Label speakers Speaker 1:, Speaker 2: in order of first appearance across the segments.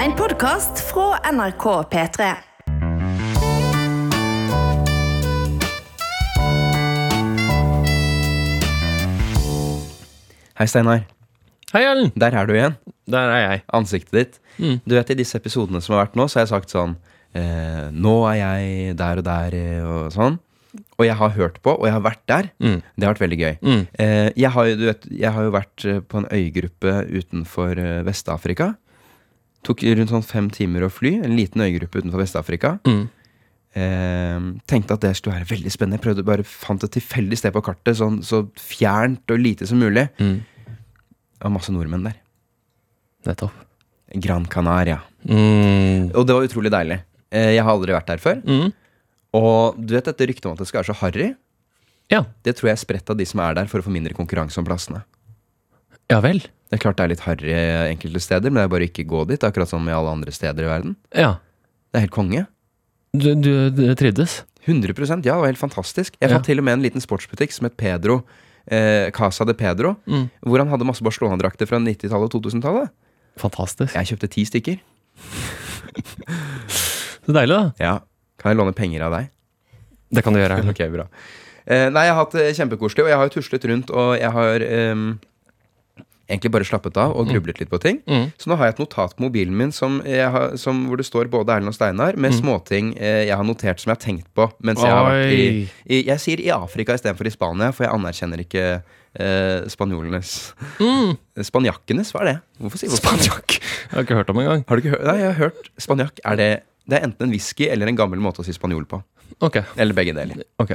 Speaker 1: En podkast fra NRK P3.
Speaker 2: Hei, Steinar.
Speaker 3: Hei, Ellen.
Speaker 2: Der er du igjen.
Speaker 3: Der er jeg.
Speaker 2: Ansiktet ditt. Du vet, I disse episodene som har vært nå, så har jeg sagt sånn eh, Nå er jeg der og der eh, og sånn. Og jeg har hørt på, og jeg har vært der. Det har vært veldig gøy. Eh, jeg, har, jo- du vet, jeg har jo vært eh, på en øygruppe utenfor eh, Vest-Afrika. Tok rundt sånn fem timer å fly. En liten øygruppe utenfor Vest-Afrika.
Speaker 3: Mm,
Speaker 2: Eh, tenkte at det skulle være veldig spennende. Jeg prøvde bare fant et tilfeldig sted på kartet, sånn, så fjernt og lite som mulig.
Speaker 3: mm.
Speaker 2: Det var masse nordmenn der.
Speaker 3: Nettopp.
Speaker 2: Gran Canaria.
Speaker 3: Mm.
Speaker 2: Og det var utrolig deilig. Eh, Jeg har aldri vært der før. Og du vet dette ryktet om at det skal være så harry?
Speaker 3: Ja.
Speaker 2: Det tror jeg er spredt av de som er der for å få mindre konkurranse om plassene.
Speaker 3: Ja vel.
Speaker 2: Det er klart det er litt harry enkelte steder, men det er bare å ikke gå dit. Akkurat som i alle andre steder i verden.
Speaker 3: Ja.
Speaker 2: Det er helt konge.
Speaker 3: Du, du, du trivdes?
Speaker 2: 100 Ja, det var helt fantastisk. Jeg
Speaker 3: Ja.
Speaker 2: fant til og med en liten sportsbutikk som het Pedro. Eh, Casa de Pedro.
Speaker 3: Mm.
Speaker 2: Hvor han hadde masse Barcelona-drakter fra 90-tallet og 2000-tallet.
Speaker 3: Fantastisk.
Speaker 2: Jeg kjøpte ti stykker.
Speaker 3: Så deilig, da.
Speaker 2: Ja. Kan jeg låne penger av deg?
Speaker 3: Det kan du gjøre. Erlend.
Speaker 2: Ok, bra. Eh, nei, jeg har hatt det kjempekoselig, og jeg har jo tuslet rundt, og jeg har ehm, egentlig bare slappet av
Speaker 3: Mm.
Speaker 2: og grublet litt på ting. Så nå har jeg et notat på mobilen min som jeg har, som, hvor det står både Erlend og Steinar, med
Speaker 3: Mm.
Speaker 2: småting eh, jeg har notert som jeg har tenkt på mens jeg har vært i,
Speaker 3: Oi.
Speaker 2: i Jeg sier i Afrika istedenfor i Spania, for jeg anerkjenner ikke eh, spanjolenes Spanjakkenes, hva er det? Hvorfor sier hvorfor?
Speaker 3: Mm. Spanjakk. Jeg har ikke hørt om engang.
Speaker 2: Har du ikke hørt? Nei, jeg har hørt spanjakk. Er det, det er enten en whisky eller en gammel måte å si spanjol på.
Speaker 3: Ok.
Speaker 2: Eller begge deler.
Speaker 3: ok.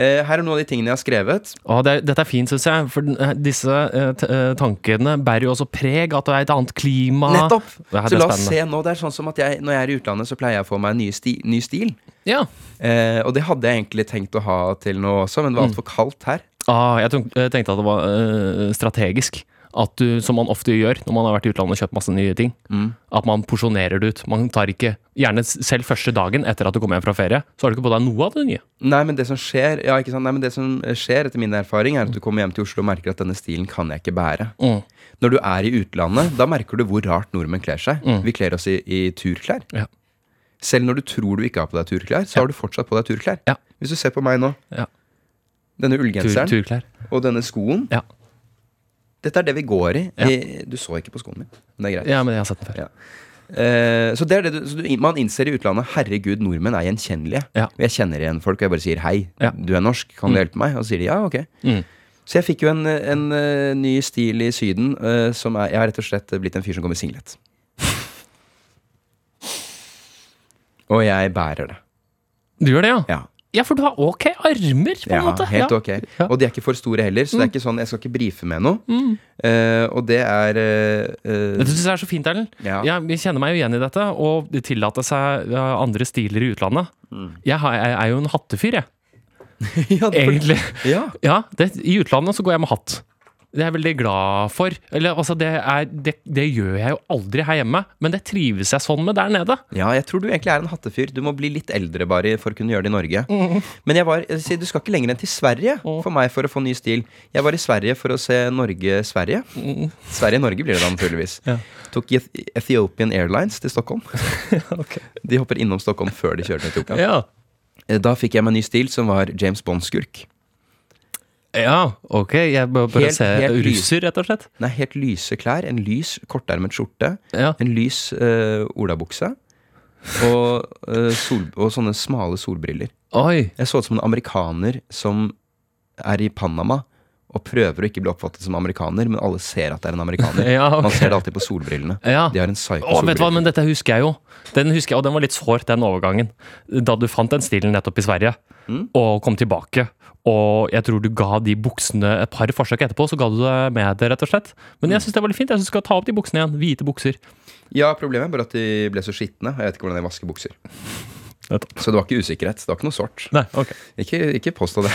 Speaker 2: Eh, her er noen av de tingene jeg har skrevet.
Speaker 3: Å, det, er- dette er fint, syns jeg. For den- eh, disse eh, t eh, tankene bærer jo også preg at det er et annet klima.
Speaker 2: Nettopp!
Speaker 3: Ah, Det her
Speaker 2: Så
Speaker 3: blir
Speaker 2: la oss
Speaker 3: spennende.
Speaker 2: se nå. Det er sånn som at jeg, når jeg er i utlandet, så pleier jeg å få meg en ny, sti, ny stil.
Speaker 3: Ja.
Speaker 2: Eh, og det hadde jeg egentlig tenkt å ha til nå også, men det var
Speaker 3: Mm.
Speaker 2: altfor kaldt her.
Speaker 3: Ah, jeg tok- jeg tenkte at det var eh, strategisk. At du, som man ofte gjør når man har vært i utlandet og kjøpt masse nye ting,
Speaker 2: Mm.
Speaker 3: at man porsjonerer det ut. Man tar ikke, Gjerne s- selv første dagen etter at du kommer hjem fra ferie, så har du ikke på deg noe av det nye.
Speaker 2: Nei, men det som skjer, ja, ikke sant? Nei, men det som skjer etter min erfaring, er at du kommer hjem til Oslo og merker at denne stilen kan jeg ikke bære. Når du er i utlandet, da merker du hvor rart nordmenn kler seg.
Speaker 3: Mm.
Speaker 2: Vi kler oss i, i turklær.
Speaker 3: Ja.
Speaker 2: Selv når du tror du ikke har på deg turklær, så har du fortsatt på deg turklær.
Speaker 3: Ja.
Speaker 2: Hvis du ser på meg nå.
Speaker 3: Ja.
Speaker 2: Denne
Speaker 3: Tur,
Speaker 2: ullgenseren
Speaker 3: turklær.
Speaker 2: og denne skoen.
Speaker 3: Ja.
Speaker 2: Dette er det vi går i.
Speaker 3: Ja.
Speaker 2: I- Du så ikke på skoen min, men det er greit.
Speaker 3: ja, men jeg har sett den før.
Speaker 2: Ja. Eh, så det er det du, så du, man innser i utlandet Herregud, nordmenn er gjenkjennelige.
Speaker 3: Ja.
Speaker 2: Og jeg kjenner igjen folk, og jeg bare sier 'hei,
Speaker 3: Ja.
Speaker 2: du er norsk, kan du hjelpe meg?' Og så sier de ja, ok.
Speaker 3: Mm.
Speaker 2: Så jeg fikk jo en, en eh, ny stil i Syden eh, som er Jeg har rett og slett blitt en fyr som går med singlet. og jeg bærer det.
Speaker 3: Du gjør det, ja?
Speaker 2: Ja.
Speaker 3: Ja, for du har ok armer, på en
Speaker 2: Ja,
Speaker 3: måte.
Speaker 2: helt
Speaker 3: ja. Mm.
Speaker 2: ok. Og de er ikke for store heller, så det er ikke sånn, jeg skal ikke brife med noe. Eh, og det er eh, eh,
Speaker 3: Dette syns jeg er så fint, Erlend.
Speaker 2: Ja.
Speaker 3: Jeg, jeg kjenner meg jo igjen i dette, og det tillater seg ja, andre stiler i utlandet.
Speaker 2: Mm.
Speaker 3: Jeg, har, jeg er jo en hattefyr, jeg.
Speaker 2: ja, det-
Speaker 3: Egentlig.
Speaker 2: Ja.
Speaker 3: Ja, det, i utlandet så går jeg med hatt. Det er jeg veldig glad for. Eller, altså, det, er, det, det gjør jeg jo aldri her hjemme, men det trives jeg sånn med der nede.
Speaker 2: Ja, jeg tror du egentlig er en hattefyr. Du må bli litt eldre bare for å kunne gjøre det i Norge. Men jeg var, jeg sier, du skal ikke lenger enn til Sverige for meg for å få ny stil. Jeg var i Sverige for å se Norge-Sverige. Sverige-Norge blir det da naturligvis. Tok Eth- Ethiopian Airlines til Stockholm. De hopper innom Stockholm før de kjører til Etiopia.
Speaker 3: Ja,
Speaker 2: Eh, Da fikk jeg meg en ny stil som var James Bond-skurk.
Speaker 3: Ja, ok. Jeg bør bare
Speaker 2: Helt-
Speaker 3: se
Speaker 2: helt
Speaker 3: russer, rett og slett.
Speaker 2: Nei, helt lyse klær. En lys kortermet skjorte.
Speaker 3: Ja.
Speaker 2: En lys eh, olabukse. Og, eh, sol, og sånne smale solbriller.
Speaker 3: Oi.
Speaker 2: Jeg så ut som en amerikaner som er i Panama og prøver å ikke bli oppfattet som amerikaner, men alle ser at det er en amerikaner.
Speaker 3: Ja, ok.
Speaker 2: Man ser det alltid på solbrillene.
Speaker 3: Ja.
Speaker 2: De har en psycho
Speaker 3: Å, vet du hva,
Speaker 2: solbrille.
Speaker 3: men dette husker jeg jo. Den husker jeg, Og den var litt sår, den overgangen. Da du fant den stilen nettopp i Sverige, og kom tilbake. Og jeg tror du ga de buksene et par forsøk etterpå, så ga du det med det, rett og slett. Men jeg syns det var litt fint. Jeg synes du skal ta opp de buksene igjen. Hvite bukser.
Speaker 2: Ja, problemet er bare at de ble så skitne. og Jeg vet ikke hvordan jeg vasker bukser.
Speaker 3: Nettopp.
Speaker 2: Så det var ikke usikkerhet. Det var ikke noe sort.
Speaker 3: Nei, ok.
Speaker 2: Ikke, ikke påstå det.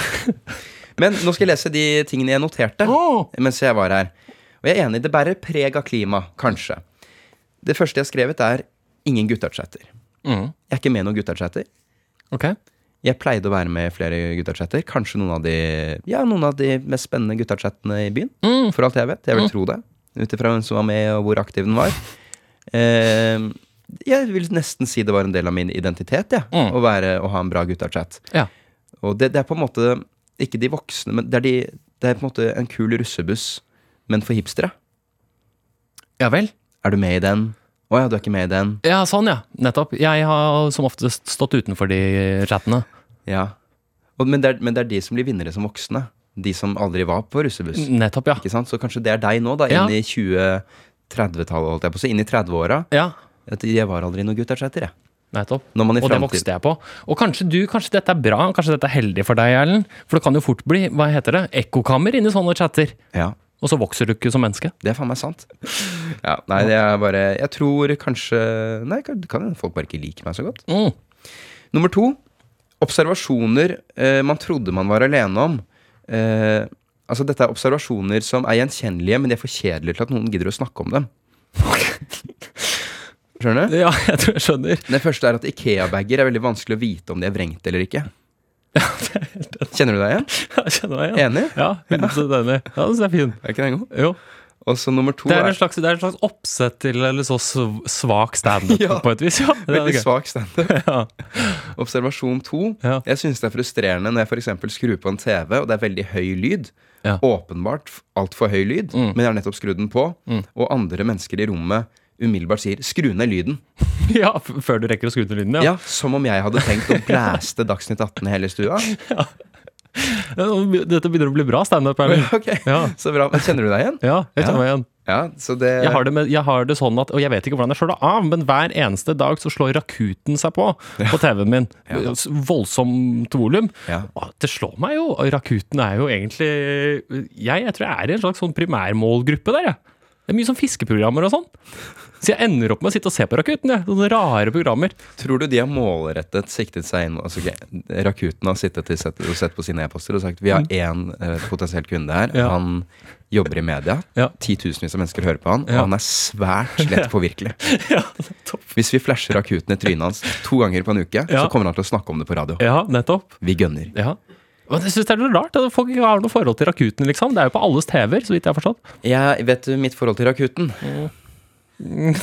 Speaker 2: men nå skal jeg lese de tingene jeg noterte
Speaker 3: Åh!
Speaker 2: mens jeg var her. Og jeg er enig, det bærer preg av klima, kanskje. Det første jeg har skrevet, er ingen gutterchatter.
Speaker 3: Mm.
Speaker 2: Jeg er ikke med i noen gutterchatter.
Speaker 3: Ok.
Speaker 2: Jeg pleide å være med i flere guttachatter. Kanskje noen av de Ja, noen av de mest spennende guttachattene i byen. For alt jeg vet. Jeg vil tro det. Ut ifra hvem som var med, og hvor aktiv den var. eh, Jeg vil nesten si det var en del av min identitet, jeg.
Speaker 3: Mm.
Speaker 2: Å, være, å ha en bra gutta-chat.
Speaker 3: Ja.
Speaker 2: Og det, det er på en måte ikke de voksne, men det er, de, det er på en måte en kul russebuss, men for hipstere.
Speaker 3: Ja vel?
Speaker 2: Er du med i den? Å ja, du er ikke med i den?
Speaker 3: Ja, sånn, ja. Nettopp. Jeg har som oftest stått utenfor de chattene.
Speaker 2: Ja. Og, men, det er, men det er de som blir vinnere som voksne. De som aldri var på russebuss.
Speaker 3: Nettopp, ja.
Speaker 2: Ikke sant? Så kanskje det er deg nå, da,
Speaker 3: Ja.
Speaker 2: inn i 2030-tallet, holdt jeg på å si. Inn i 30-åra.
Speaker 3: Ja,
Speaker 2: At Jeg var aldri noen gutta-chatter, jeg.
Speaker 3: nettopp.
Speaker 2: Når man i
Speaker 3: Og det
Speaker 2: fremtiden
Speaker 3: vokste jeg på. Og kanskje du, kanskje dette er bra, kanskje dette er heldig for deg, Erlend. For det kan jo fort bli, hva heter det, ekkokammer inni sånne chatter.
Speaker 2: Ja,
Speaker 3: Og så vokser du ikke som menneske.
Speaker 2: det er faen meg sant. Ja, nei, det er bare Jeg tror kanskje Nei, kan kan hende folk bare ikke liker meg så godt.
Speaker 3: Mm.
Speaker 2: Nummer to. Observasjoner eh, man trodde man var alene om. Eh, altså, dette er observasjoner som er gjenkjennelige, men de er for kjedelige til at noen gidder å snakke om dem. Skjønner du?
Speaker 3: Ja, jeg tror jeg skjønner.
Speaker 2: Den første er at Ikea-bager er veldig vanskelig å vite om de er vrengt eller ikke. Kjenner du deg igjen?
Speaker 3: Jeg kjenner meg igjen.
Speaker 2: Enig?
Speaker 3: Ja, 100 enig. Ja, den er fin.
Speaker 2: Er ikke den god?
Speaker 3: Jo.
Speaker 2: Og så nummer to
Speaker 3: Det er
Speaker 2: er,
Speaker 3: en slags, det er en slags oppsett til eller så sv- svak standup
Speaker 2: Ja.
Speaker 3: på et vis. Ja, det er
Speaker 2: veldig
Speaker 3: gøy.
Speaker 2: svak standup.
Speaker 3: Ja.
Speaker 2: Observasjon to.
Speaker 3: Ja.
Speaker 2: Jeg syns det er frustrerende når jeg f.eks. skrur på en TV, og det er veldig høy lyd.
Speaker 3: Ja. Mm.
Speaker 2: Åpenbart f- altfor høy lyd, men jeg har nettopp skrudd den på. Og andre mennesker i rommet umiddelbart sier 'skru ned lyden'.
Speaker 3: ja, f- før du rekker å skru ned lyden. Ja.
Speaker 2: Ja, Som om jeg hadde tenkt å blæste Dagsnytt 18 i hele stua.
Speaker 3: Dette begynner å bli bra standup, Erlend.
Speaker 2: Ok,
Speaker 3: Ja.
Speaker 2: Så bra. Men kjenner du deg igjen?
Speaker 3: Ja, jeg
Speaker 2: Ja.
Speaker 3: kjenner meg igjen.
Speaker 2: Ja, så det
Speaker 3: Jeg har, det med, jeg har det sånn at, og jeg vet ikke hvordan jeg slår det av, men hver eneste dag så slår Rakuten seg på på TV-en min. S- Voldsomt volum.
Speaker 2: Ja.
Speaker 3: Og det slår meg jo. og Rakuten er jo egentlig Jeg, jeg tror jeg er i en slags sånn primærmålgruppe der, jeg. Det er mye sånn fiskeprogrammer og sånn. Så jeg ender opp med å sitte og se på Rakuten. Jeg. Sånne rare programmer.
Speaker 2: Tror du de har målrettet siktet seg inn altså, ok, Rakuten har sittet og sett, og sett på sine e-poster og sagt vi har én eh, potensiell kunde her.
Speaker 3: Mm. Ja.
Speaker 2: Han jobber i media.
Speaker 3: Ja.
Speaker 2: Titusenvis av mennesker hører på han,
Speaker 3: Ja.
Speaker 2: og han er svært lett påvirkelig.
Speaker 3: Ja, nettopp.
Speaker 2: Hvis vi flasher Rakuten i trynet hans to ganger på en uke,
Speaker 3: Ja.
Speaker 2: så kommer han til å snakke om det på radio.
Speaker 3: Ja, nettopp.
Speaker 2: Vi gønner.
Speaker 3: Ja. Men jeg synes det er noe rart at folk ikke har noe forhold til Rakuten, liksom. Det er jo på alles TV-er, så vidt jeg har forstått.
Speaker 2: Jeg vet du mitt forhold til Rakuten?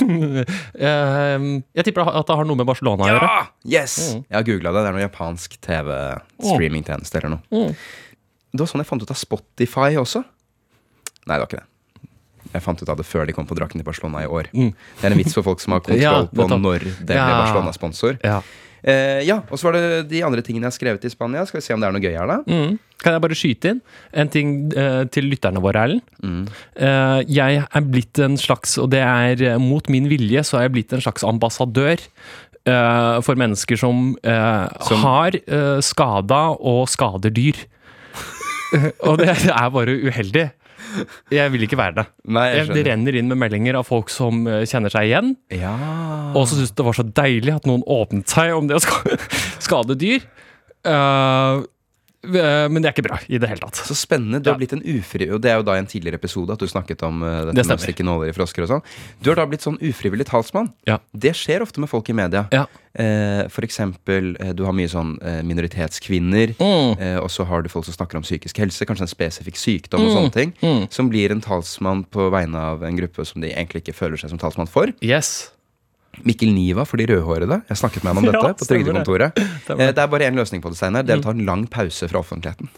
Speaker 3: Eh, Jeg tipper at det har Mm. noe med Barcelona å gjøre.
Speaker 2: Ja! Yes! Jeg har googla det. Det er noe japansk TV-streamingtjeneste eller noe.
Speaker 3: Mm.
Speaker 2: Det var sånn jeg fant ut av Spotify også. Nei, det var ikke det. Jeg fant ut av det før de kom på drakten til Barcelona i år. Det er en vits for folk som har kontroll
Speaker 3: Mm. Ja,
Speaker 2: på
Speaker 3: nettopp.
Speaker 2: når det ble
Speaker 3: Ja.
Speaker 2: Barcelona-sponsor.
Speaker 3: Ja.
Speaker 2: Eh, ja, Og så var det de andre tingene jeg har skrevet i Spania. Skal vi se om det er noe gøy her, da?
Speaker 3: Mm. Kan jeg bare skyte inn en ting eh, til lytterne våre, Erlend?
Speaker 2: Mm.
Speaker 3: Eh, jeg er blitt en slags, og det er eh, mot min vilje, så er jeg blitt en slags ambassadør. eh, for mennesker som, eh,
Speaker 2: Som-
Speaker 3: har uh, skada og skader dyr. Eh, og det er bare uheldig. Jeg vil ikke være det.
Speaker 2: Nei, jeg
Speaker 3: det
Speaker 2: skjønner.
Speaker 3: renner inn med meldinger av folk som eh, kjenner seg igjen,
Speaker 2: Ja.
Speaker 3: og så syntes det var så deilig at noen åpnet seg om det å ska- skade dyr. Eh, eh, men det er ikke bra i det hele tatt.
Speaker 2: Så spennende. Du har
Speaker 3: Ja.
Speaker 2: blitt en ufri... Og det er jo da i en tidligere episode at du snakket om eh, dette
Speaker 3: Det
Speaker 2: med å
Speaker 3: stemmer.
Speaker 2: stikke nåler i frosker og sånn. Du har da blitt sånn ufrivillig talsmann.
Speaker 3: Ja.
Speaker 2: Det skjer ofte med folk i media.
Speaker 3: Ja.
Speaker 2: Eh, for eksempel, eh, du har mye sånn eh, minoritetskvinner.
Speaker 3: Mm.
Speaker 2: Eh, og så har du folk som snakker om psykisk helse, kanskje en spesifikk sykdom
Speaker 3: Mm.
Speaker 2: og sånne ting. Som blir en talsmann på vegne av en gruppe som de egentlig ikke føler seg som talsmann for.
Speaker 3: Yes.
Speaker 2: Mikkel Niva for de rødhårede. Jeg snakket med han om
Speaker 3: Ja,
Speaker 2: dette på
Speaker 3: stemmer det. Mm.
Speaker 2: Trygdekontoret.
Speaker 3: Stemmer
Speaker 2: Eh, Det er bare én løsning på det, Steinar. Det er å ta en lang pause fra offentligheten.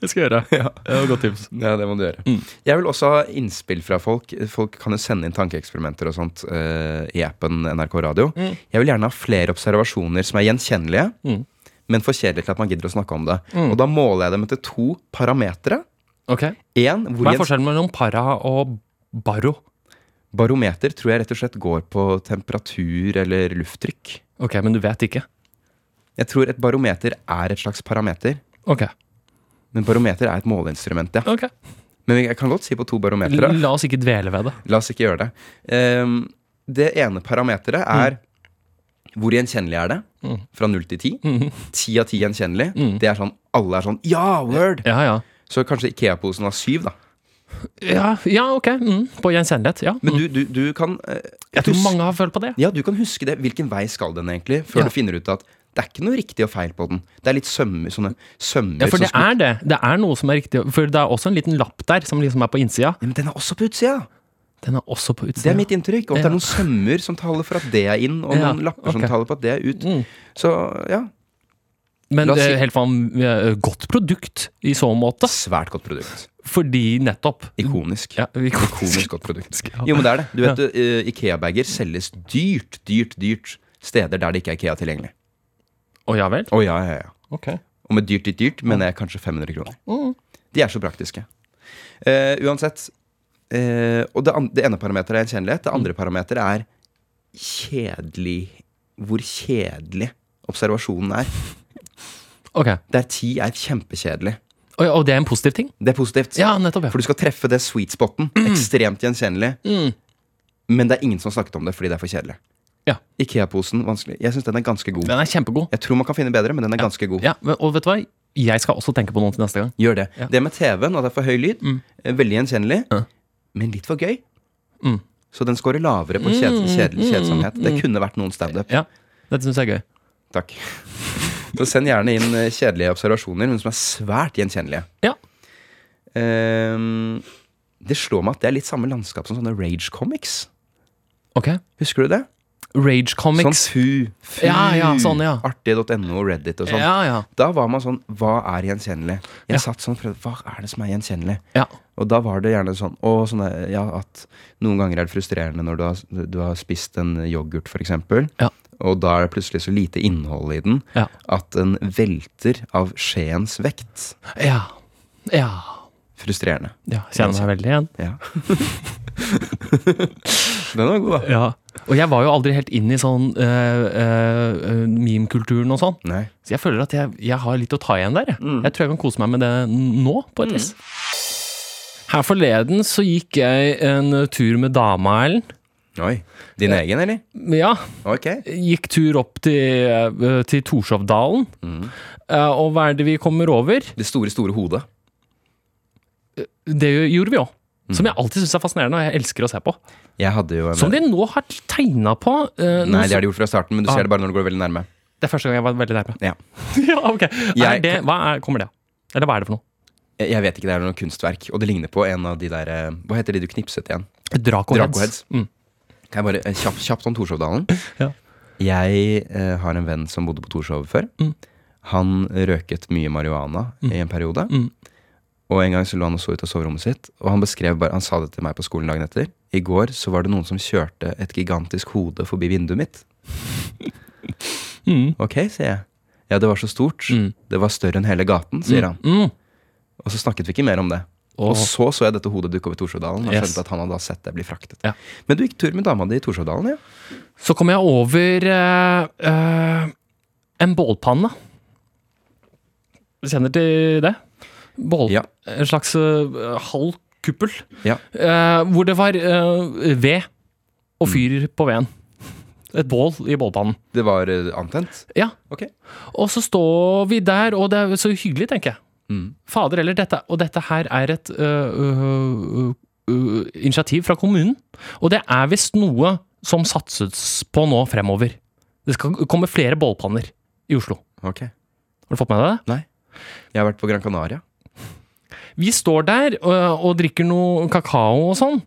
Speaker 3: Det skal jeg gjøre. Det var et godt tips.
Speaker 2: Ja, det må du gjøre.
Speaker 3: Mm.
Speaker 2: Jeg vil også ha innspill fra folk. Folk kan jo sende inn tankeeksperimenter og sånt eh, i appen NRK Radio.
Speaker 3: Mm.
Speaker 2: Jeg vil gjerne ha flere observasjoner som er gjenkjennelige, men for kjedelig til at man gidder å snakke om det.
Speaker 3: Mm.
Speaker 2: Og da måler jeg dem etter to parametere.
Speaker 3: Ok.
Speaker 2: En, hvor
Speaker 3: Hva er
Speaker 2: gjen-
Speaker 3: forskjellen mellom para og baro?
Speaker 2: barometer tror jeg rett og slett går på temperatur eller lufttrykk.
Speaker 3: Ok, men du vet ikke.
Speaker 2: Jeg tror et barometer er et slags parameter.
Speaker 3: Ok.
Speaker 2: Men barometer er et måleinstrument, ja.
Speaker 3: ok.
Speaker 2: Men jeg kan godt si på to barometere.
Speaker 3: L- La oss ikke dvele ved det.
Speaker 2: La oss ikke gjøre det. Ehm, det ene parameteret er
Speaker 3: Mm.
Speaker 2: hvor gjenkjennelig er det? Fra null til ti. Ti av ti gjenkjennelig. Det er sånn, Alle er sånn Ja, word!
Speaker 3: Mm. Ja, ja.
Speaker 2: Så kanskje Ikea-posen var syv, da.
Speaker 3: Ja, ja ok. Mm. På gjenkjennelighet. Ja.
Speaker 2: Men du, du, du kan eh,
Speaker 3: Mm. Jeg tror
Speaker 2: hus-
Speaker 3: mange har følt på det.
Speaker 2: Ja, du kan huske det. Hvilken vei skal den egentlig? Før
Speaker 3: Ja.
Speaker 2: du finner ut at det er ikke noe riktig og feil på den. Det er litt sømmer, sånne sømmer
Speaker 3: Ja, for
Speaker 2: som
Speaker 3: det
Speaker 2: skulle-
Speaker 3: er det. Det er noe som er riktig. For det er også en liten lapp der som liksom er på
Speaker 2: ja,
Speaker 3: innsida.
Speaker 2: Men den er også på utsida!
Speaker 3: Den er også på utsida.
Speaker 2: Det er mitt inntrykk. Og at det er noen sømmer som taler for at det er inn, og
Speaker 3: Ja,
Speaker 2: noen lapper
Speaker 3: ok.
Speaker 2: som taler på at det er ut.
Speaker 3: Mm.
Speaker 2: Så ja,
Speaker 3: Men
Speaker 2: La oss
Speaker 3: det
Speaker 2: si-
Speaker 3: er helt fan, eh, godt produkt i så måte.
Speaker 2: svært godt produkt.
Speaker 3: Fordi nettopp
Speaker 2: Ikonisk.
Speaker 3: ja, vi-
Speaker 2: Ikonisk godt produkt.
Speaker 3: Ja.
Speaker 2: Jo, men det er det. Du vet, eh, Ikea-bager selges dyrt, dyrt, dyrt steder der det ikke er Ikea tilgjengelig.
Speaker 3: Å ja vel?
Speaker 2: Å ja, ja, ja.
Speaker 3: Ok.
Speaker 2: Og med dyrt, dyrt, dyrt mener jeg kanskje 500 kroner. De er så praktiske. Eh, uansett. eh, og det, an det ene parameteret er gjenkjennelighet. Det
Speaker 3: Mm.
Speaker 2: andre parameteret er kjedelig Hvor kjedelig observasjonen er.
Speaker 3: Ok.
Speaker 2: Der ti er kjempekjedelig.
Speaker 3: Og, og det er en positiv ting?
Speaker 2: Det er positivt.
Speaker 3: Ja, nettopp. Ja. Mm.
Speaker 2: For du skal treffe det sweet spoten. Ekstremt gjenkjennelig. Men det er ingen som har snakket om det fordi det er for kjedelig.
Speaker 3: Ja.
Speaker 2: Ikea-posen, vanskelig. Jeg syns den er ganske god.
Speaker 3: Den er kjempegod.
Speaker 2: Jeg tror man kan finne bedre, men den er ganske god.
Speaker 3: Ja, men- Og vet du hva? Jeg skal også tenke på noen til neste gang.
Speaker 2: Gjør det.
Speaker 3: Ja. Mm.
Speaker 2: Det med TV-en, at det er for høy lyd, eh, veldig gjenkjennelig,
Speaker 3: Ja.
Speaker 2: men litt for gøy.
Speaker 3: Mm.
Speaker 2: Så den scorer lavere på kjed kjedelig kjedsomhet. Det kunne vært noen standup.
Speaker 3: Ja, Dette syns jeg er gøy.
Speaker 2: Takk. Så send gjerne inn eh, kjedelige observasjoner, men som er svært gjenkjennelige.
Speaker 3: Ja.
Speaker 2: Ehm, det slår meg at det er litt samme landskap som sånne rage comics.
Speaker 3: Ok.
Speaker 2: Husker du det?
Speaker 3: Rage
Speaker 2: Sånn
Speaker 3: comics.
Speaker 2: fu, fu
Speaker 3: Ja, ja, sånn, ja.
Speaker 2: artig.no, Reddit og sånn.
Speaker 3: ja, ja.
Speaker 2: Da var man sånn Hva er gjenkjennelig?
Speaker 3: Ja.
Speaker 2: Jeg satt sånn og prøvde Hva er det som er gjenkjennelig?
Speaker 3: ja.
Speaker 2: Og da var det gjerne sånn og sånne, ja, at Noen ganger er det frustrerende når du har, du har spist en yoghurt, f.eks.
Speaker 3: Ja.
Speaker 2: Og da er det plutselig så lite innhold i den
Speaker 3: Ja.
Speaker 2: at den velter av skjeens vekt.
Speaker 3: Ja. ja.
Speaker 2: Frustrerende.
Speaker 3: ja. Kjenner meg veldig igjen.
Speaker 2: Ja. den var god, da.
Speaker 3: Ja. Og jeg var jo aldri helt inn i sånn uh, meme-kulturen og sånn.
Speaker 2: Nei.
Speaker 3: Så jeg føler at jeg, jeg har litt å ta igjen der. jeg.
Speaker 2: Mm.
Speaker 3: Jeg tror jeg kan kose meg med det nå, på et vis. Her forleden så gikk jeg en eh, tur med dama, Ellen.
Speaker 2: Oi. Din egen, eller?
Speaker 3: Ja,
Speaker 2: Ok.
Speaker 3: gikk tur opp til, eh, til Torshovdalen.
Speaker 2: Mm.
Speaker 3: Eh, Og hva er det vi kommer over?
Speaker 2: Det store, store hodet.
Speaker 3: Det gjorde vi òg. Som
Speaker 2: Mm.
Speaker 3: jeg alltid syns er fascinerende, og jeg elsker å se på.
Speaker 2: Jeg hadde jo en
Speaker 3: Som de nå har tegna på. eh,
Speaker 2: Nei,
Speaker 3: noe
Speaker 2: det
Speaker 3: som-
Speaker 2: har de gjort fra starten, men du
Speaker 3: Ah.
Speaker 2: ser det bare når du går veldig nærme.
Speaker 3: det er første gang jeg var veldig nærme.
Speaker 2: Ja.
Speaker 3: ja, ok. Er
Speaker 2: Jeg-
Speaker 3: det, hva er, kommer det av? Eller hva er det for noe?
Speaker 2: Jeg jeg vet ikke, det er noe kunstverk, og det ligner på en av de der eh, Hva heter de du knipset igjen?
Speaker 3: Dracoheads.
Speaker 2: Dracoheads.
Speaker 3: Mm.
Speaker 2: Kan jeg bare eh, kjapt kjapt om Torshovdalen?
Speaker 3: Ja.
Speaker 2: Jeg eh, har en venn som bodde på Torshov før.
Speaker 3: Mm.
Speaker 2: Han røket mye marihuana i en periode.
Speaker 3: Mm.
Speaker 2: Og en gang så lå han og så ut av soverommet sitt, og han beskrev bare Han sa det til meg på skolen dagen etter. I går så var det noen som kjørte et gigantisk hode forbi vinduet mitt.
Speaker 3: Mm.
Speaker 2: Ok, sier jeg. Ja, det var så stort.
Speaker 3: Mm.
Speaker 2: Det var større enn hele gaten, sier han.
Speaker 3: Mm.
Speaker 2: Og så snakket vi ikke mer om det.
Speaker 3: Åh.
Speaker 2: Og så så jeg dette hodet dukke opp i Torshovdalen. Og
Speaker 3: Yes.
Speaker 2: skjønte at han hadde da sett det bli fraktet.
Speaker 3: Ja.
Speaker 2: Men du gikk tur med dama di i Torshovdalen, ja?
Speaker 3: Så kom jeg over eh, eh, en bålpanne. Du kjenner til det? Bål,
Speaker 2: Ja.
Speaker 3: En slags eh, halv kuppel.
Speaker 2: Ja.
Speaker 3: Eh, hvor det var eh, ved og
Speaker 2: Mm.
Speaker 3: fyr på veden. Et bål i bålpannen.
Speaker 2: Det var eh, antent?
Speaker 3: Ja.
Speaker 2: Ok.
Speaker 3: Og så står vi der, og det er så hyggelig, tenker jeg.
Speaker 2: Mm.
Speaker 3: Fader eller dette. Og dette her er et øh, øh, øh, initiativ fra kommunen. Og det er visst noe som satses på nå fremover. Det skal komme flere bålpanner i Oslo.
Speaker 2: Ok.
Speaker 3: Har du fått med deg det?
Speaker 2: Jeg har vært på Gran Canaria.
Speaker 3: Vi står der øh, og drikker noe kakao og sånn.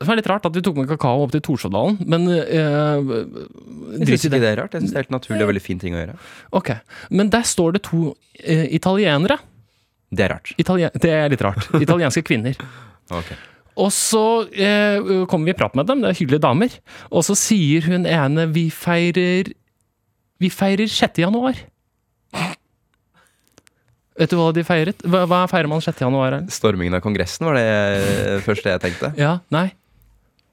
Speaker 3: Det var litt rart at vi tok med kakao opp til Torshovdalen, men øh,
Speaker 2: Jeg
Speaker 3: drit
Speaker 2: syns
Speaker 3: i
Speaker 2: ikke
Speaker 3: det.
Speaker 2: det er rart. Jeg synes det er helt naturlig og veldig fin ting å gjøre.
Speaker 3: Ok. Men der står det to øh, italienere.
Speaker 2: Det er rart.
Speaker 3: Italien det er litt rart. Italienske kvinner.
Speaker 2: Ok.
Speaker 3: Og så eh, kommer vi i prat med dem, det er hyggelige damer. Og så sier hun ene vi feirer Vi feirer 6. januar. Vet du hva de feiret? Hva, hva feirer man 6. januar? Erlend?
Speaker 2: Stormingen av Kongressen var det eh, første jeg tenkte.
Speaker 3: Ja? Nei?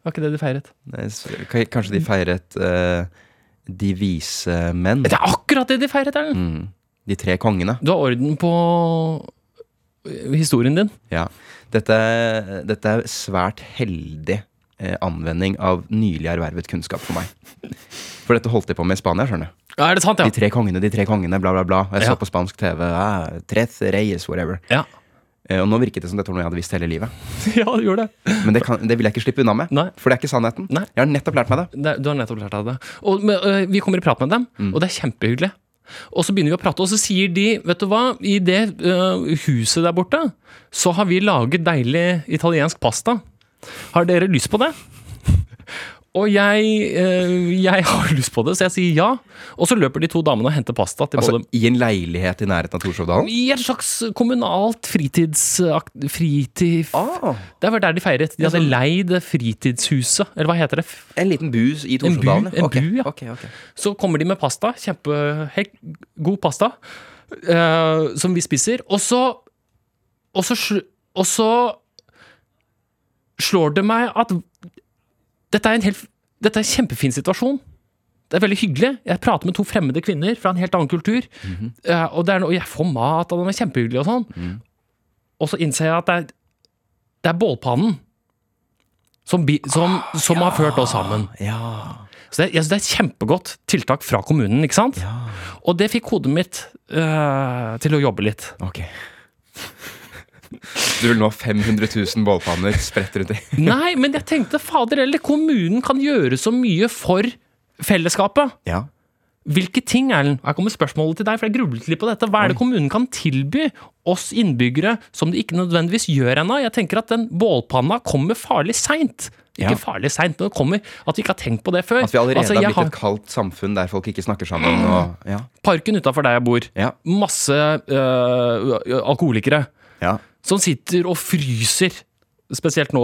Speaker 3: Var ikke det de feiret?
Speaker 2: Nei, s- k- Kanskje de feiret eh, De vise menn.
Speaker 3: Det er akkurat det de feiret, Erlend!
Speaker 2: Mm. De tre kongene.
Speaker 3: Du har orden på historien din.
Speaker 2: Ja. Dette, dette er svært heldig eh, anvending av nylig ervervet kunnskap for meg. For dette holdt de på med i Spania, skjønner du.
Speaker 3: Ja, er det sant,
Speaker 2: De tre kongene, de tre kongene, bla, bla, bla. Og jeg
Speaker 3: Ja.
Speaker 2: så på spansk TV. Ah, tres reyes, whatever.
Speaker 3: ja?
Speaker 2: Eh, Og nå virket det som dette var noe jeg hadde visst hele livet.
Speaker 3: Ja, du gjorde det.
Speaker 2: Men det, kan, det vil jeg ikke slippe unna med.
Speaker 3: Nei.
Speaker 2: For det er ikke sannheten.
Speaker 3: Nei.
Speaker 2: Jeg har nettopp lært meg det.
Speaker 3: Det, du har nettopp lært deg det. Og men, øh, vi kommer i prat med dem,
Speaker 2: Mm.
Speaker 3: og det er kjempehyggelig. Og så begynner vi å prate, og så sier de Vet du hva, i det øh, huset der borte, så har vi laget deilig italiensk pasta. Har dere lyst på det? Og jeg, eh, jeg har lyst på det, så jeg sier ja. Og så løper de to damene og henter pasta til
Speaker 2: Altså
Speaker 3: både
Speaker 2: i en leilighet i nærheten av Torshovdalen?
Speaker 3: I et slags kommunalt fritids... Fritid...
Speaker 2: Ah, Altså-
Speaker 3: Det var der de feiret. De hadde
Speaker 2: Ja, så-
Speaker 3: leid fritidshuset, eller hva heter det?
Speaker 2: en liten bus i
Speaker 3: En bu-
Speaker 2: Torshovdalen?
Speaker 3: en
Speaker 2: Ok,
Speaker 3: bu, ja.
Speaker 2: ok, ok.
Speaker 3: Så kommer de med pasta. Kjempe hek, god pasta. eh, som vi spiser. Og så Og så, sl- og så slår det meg at dette er en helt Dette er en kjempefin situasjon. Det er veldig hyggelig. Jeg prater med to fremmede kvinner fra en helt annen kultur. eh, og, det er, no- og jeg får mat, og den er kjempehyggelig og sånn. Og så innser jeg at det er, det er bålpannen som, bi- som, som har ført oss sammen.
Speaker 2: Ja.
Speaker 3: Så det, jeg synes det er et kjempegodt tiltak fra kommunen, ikke sant? Og det fikk hodet mitt øh, til å jobbe litt.
Speaker 2: Ok. Du vil nå ha 500 000 bålpanner spredt rundt i
Speaker 3: Nei, men jeg tenkte, fader eller, kommunen kan gjøre så mye for fellesskapet.
Speaker 2: Ja.
Speaker 3: Hvilke ting, Erlend? Her kommer spørsmålet til deg, for jeg grublet litt på dette. Hva er det kommunen kan tilby oss innbyggere som de ikke nødvendigvis gjør ennå? Jeg tenker at den bålpanna kommer farlig seint.
Speaker 2: Ja.
Speaker 3: Ikke farlig seint, men det kommer at vi ikke har tenkt på det før.
Speaker 2: At vi allerede
Speaker 3: Altså,
Speaker 2: har
Speaker 3: jeg
Speaker 2: blitt et kaldt samfunn der folk ikke snakker sammen. Og, ja.
Speaker 3: Parken utafor der jeg bor.
Speaker 2: Ja.
Speaker 3: Masse øh, alkoholikere.
Speaker 2: Ja.
Speaker 3: som sitter og fryser, spesielt nå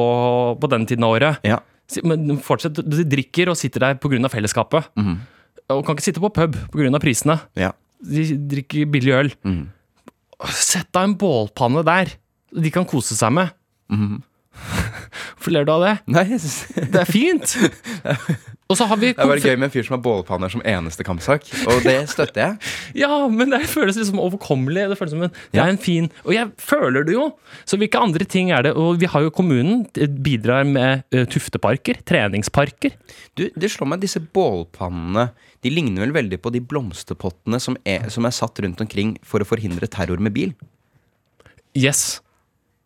Speaker 3: på den tiden av året.
Speaker 2: Ja.
Speaker 3: Si- Men fortsett, de drikker og sitter der pga. fellesskapet.
Speaker 2: Mhm.
Speaker 3: Og kan ikke sitte på pub pga. prisene.
Speaker 2: Ja.
Speaker 3: De drikker billig øl.
Speaker 2: Mhm.
Speaker 3: Sett deg en bålpanne der, de kan kose seg med.
Speaker 2: Mhm.
Speaker 3: Hvorfor ler du av det?
Speaker 2: Nei, jeg synes, det
Speaker 3: Det er fint! Og så har vi
Speaker 2: er bare gøy med en fyr som har bålpanner som eneste kampsak. Og det støtter jeg.
Speaker 3: Ja, men det føles liksom overkommelig. Det føles som en, det
Speaker 2: Ja.
Speaker 3: er en fin Og jeg føler det jo! Så hvilke andre ting er det? Og vi har jo kommunen eh, bidrar med eh, tufteparker, treningsparker.
Speaker 2: Du, det slår meg at disse bålpannene De ligner vel veldig på de blomsterpottene som er, som er satt rundt omkring for å forhindre terror med bil.
Speaker 3: Yes.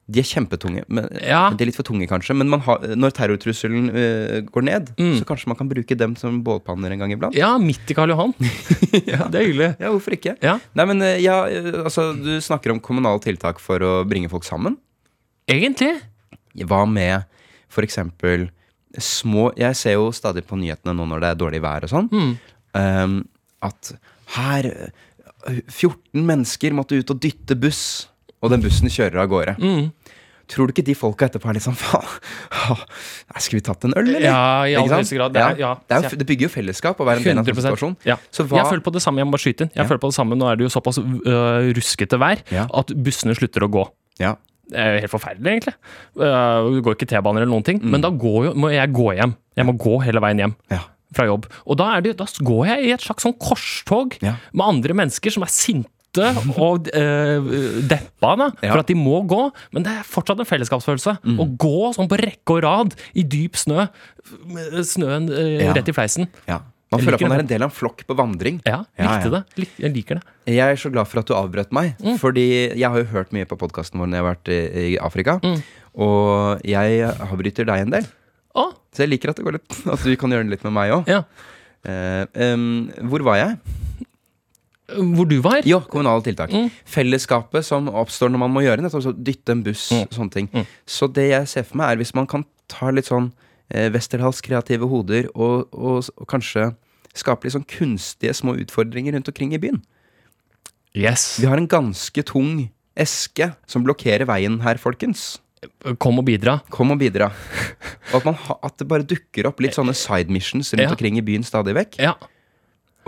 Speaker 2: De er kjempetunge. Men,
Speaker 3: Ja.
Speaker 2: De er litt for tunge, kanskje. Men man har, når terrortrusselen øh, går ned,
Speaker 3: Mm.
Speaker 2: så kanskje man kan bruke dem som bålpanner en gang iblant.
Speaker 3: Ja, midt i Karl Johan. Det er hyggelig.
Speaker 2: Ja, hvorfor ikke?
Speaker 3: Ja,
Speaker 2: Nei, men øh, ja, øh, altså, Du snakker om kommunale tiltak for å bringe folk sammen.
Speaker 3: egentlig.
Speaker 2: Hva med for eksempel små Jeg ser jo stadig på nyhetene nå når det er dårlig vær og sånn,
Speaker 3: Mm.
Speaker 2: ehm, at her eh, 14 mennesker måtte ut og dytte buss, og den bussen kjører av gårde.
Speaker 3: Mm.
Speaker 2: Tror du ikke de folka etterpå er litt sånn faen, åh, nei, skulle vi tatt en øl, eller?
Speaker 3: Ja, i
Speaker 2: Ikke
Speaker 3: aller
Speaker 2: sant?
Speaker 3: høyeste grad. Det er- ja.
Speaker 2: det, er jo, det bygger jo fellesskap å være en del av en sånn situasjon.
Speaker 3: Ja.
Speaker 2: Så hva,
Speaker 3: Jeg føler på det samme, jeg må bare skyte inn. Jeg
Speaker 2: Ja.
Speaker 3: føler på det samme, Nå er det jo såpass øh, ruskete vær
Speaker 2: Ja.
Speaker 3: at bussene slutter å gå.
Speaker 2: ja,
Speaker 3: Det er jo helt forferdelig, egentlig. Øh, det går ikke T-baner eller noen ting.
Speaker 2: Mm.
Speaker 3: Men da går jo, må jeg gå hjem. Jeg må gå hele veien hjem.
Speaker 2: ja,
Speaker 3: fra jobb. Og da, er det, da går jeg i et slags sånn korstog
Speaker 2: Ja.
Speaker 3: med andre mennesker som er sinte og eh, deppa da,
Speaker 2: Ja. Mm.
Speaker 3: for at de må gå. Men det er fortsatt en fellesskapsfølelse. Å gå sånn på rekke og rad i dyp snø, med snøen eh,
Speaker 2: Ja.
Speaker 3: rett i fleisen.
Speaker 2: ja. Man
Speaker 3: Jeg
Speaker 2: føler
Speaker 3: liker
Speaker 2: at man er
Speaker 3: det.
Speaker 2: en del av en flokk på vandring.
Speaker 3: Ja,
Speaker 2: Ja,
Speaker 3: likte
Speaker 2: ja.
Speaker 3: det. Lik, jeg liker det.
Speaker 2: Jeg er så glad for at du avbrøt meg. Fordi jeg har jo hørt mye på podkasten vår når jeg har vært i, i Afrika. Og jeg avbryter deg en del.
Speaker 3: Å,
Speaker 2: Så jeg liker at, det går litt, at du kan gjøre det litt med meg òg.
Speaker 3: ja.
Speaker 2: hvor var jeg?
Speaker 3: Hvor du var?
Speaker 2: Jo, kommunale tiltak. Fellesskapet som oppstår når man må gjøre nettopp så dytte en buss. sånne ting. Så det jeg ser for meg, er hvis man kan ta litt sånn eh, Westerdals kreative hoder og, og, s- og kanskje skape litt sånn kunstige små utfordringer rundt omkring i byen.
Speaker 3: Yes.
Speaker 2: Vi har en ganske tung eske som blokkerer veien her, folkens.
Speaker 3: Kom og bidra.
Speaker 2: Kom og bidra. Og at, man ha, at det bare dukker opp litt sånne side missions rundt
Speaker 3: Ja.
Speaker 2: omkring i byen stadig vekk.
Speaker 3: Ja.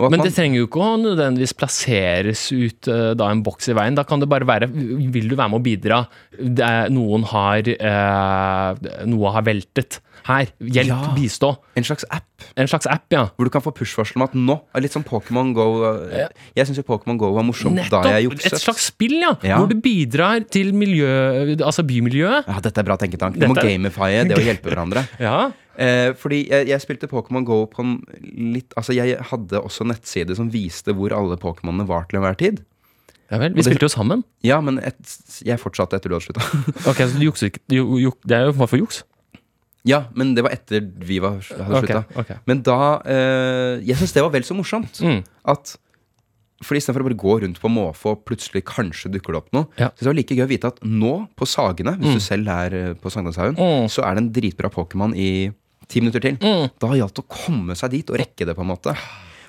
Speaker 2: Og at
Speaker 3: Men det
Speaker 2: man,
Speaker 3: trenger jo ikke å nødvendigvis plasseres ut eh, da en boks i veien. Da kan det bare være Vil du være med å bidra? Det er, noen har eh, Noe har veltet. Her, hjelp,
Speaker 2: Ja.
Speaker 3: bistå.
Speaker 2: en slags app
Speaker 3: En slags app, ja.
Speaker 2: hvor du kan få push-varsel om at nå er Litt sånn Pokémon Go. eh, Jeg syns jo Pokémon Go var morsomt da jeg
Speaker 3: Nettopp!
Speaker 2: jukset.
Speaker 3: Et slags spill, ja.
Speaker 2: Ja.
Speaker 3: Hvor du bidrar til miljø, altså bymiljøet.
Speaker 2: Ja, dette er bra tenketank. Du må
Speaker 3: Dette er-
Speaker 2: gamifye det å hjelpe hverandre.
Speaker 3: Ja.
Speaker 2: Eh, fordi jeg, jeg spilte Pokémon Go på en litt Altså, jeg hadde også nettside som viste hvor alle Pokémonene var til enhver tid.
Speaker 3: ja vel. Vi
Speaker 2: det-
Speaker 3: spilte jo sammen.
Speaker 2: Ja, men et, jeg fortsatte etter du hadde slutta.
Speaker 3: Ok, så du jukser ikke ju, ju, Det er jo hva for juks?
Speaker 2: Ja, men det var etter vi var, hadde
Speaker 3: Ok,
Speaker 2: slutta.
Speaker 3: ok.
Speaker 2: Men da eh, Jeg syns det var vel så morsomt
Speaker 3: Mm.
Speaker 2: at Fordi Istedenfor å bare gå rundt på måfå, og plutselig kanskje dukker det opp noe.
Speaker 3: Ja. Mm.
Speaker 2: Så det var like gøy å vite at nå, på Sagene, hvis du selv er eh, på Sagnashaugen, så er det en dritbra Pokémon i ti minutter til.
Speaker 3: Mm.
Speaker 2: Da gjaldt det å komme seg dit og rekke det, på en måte.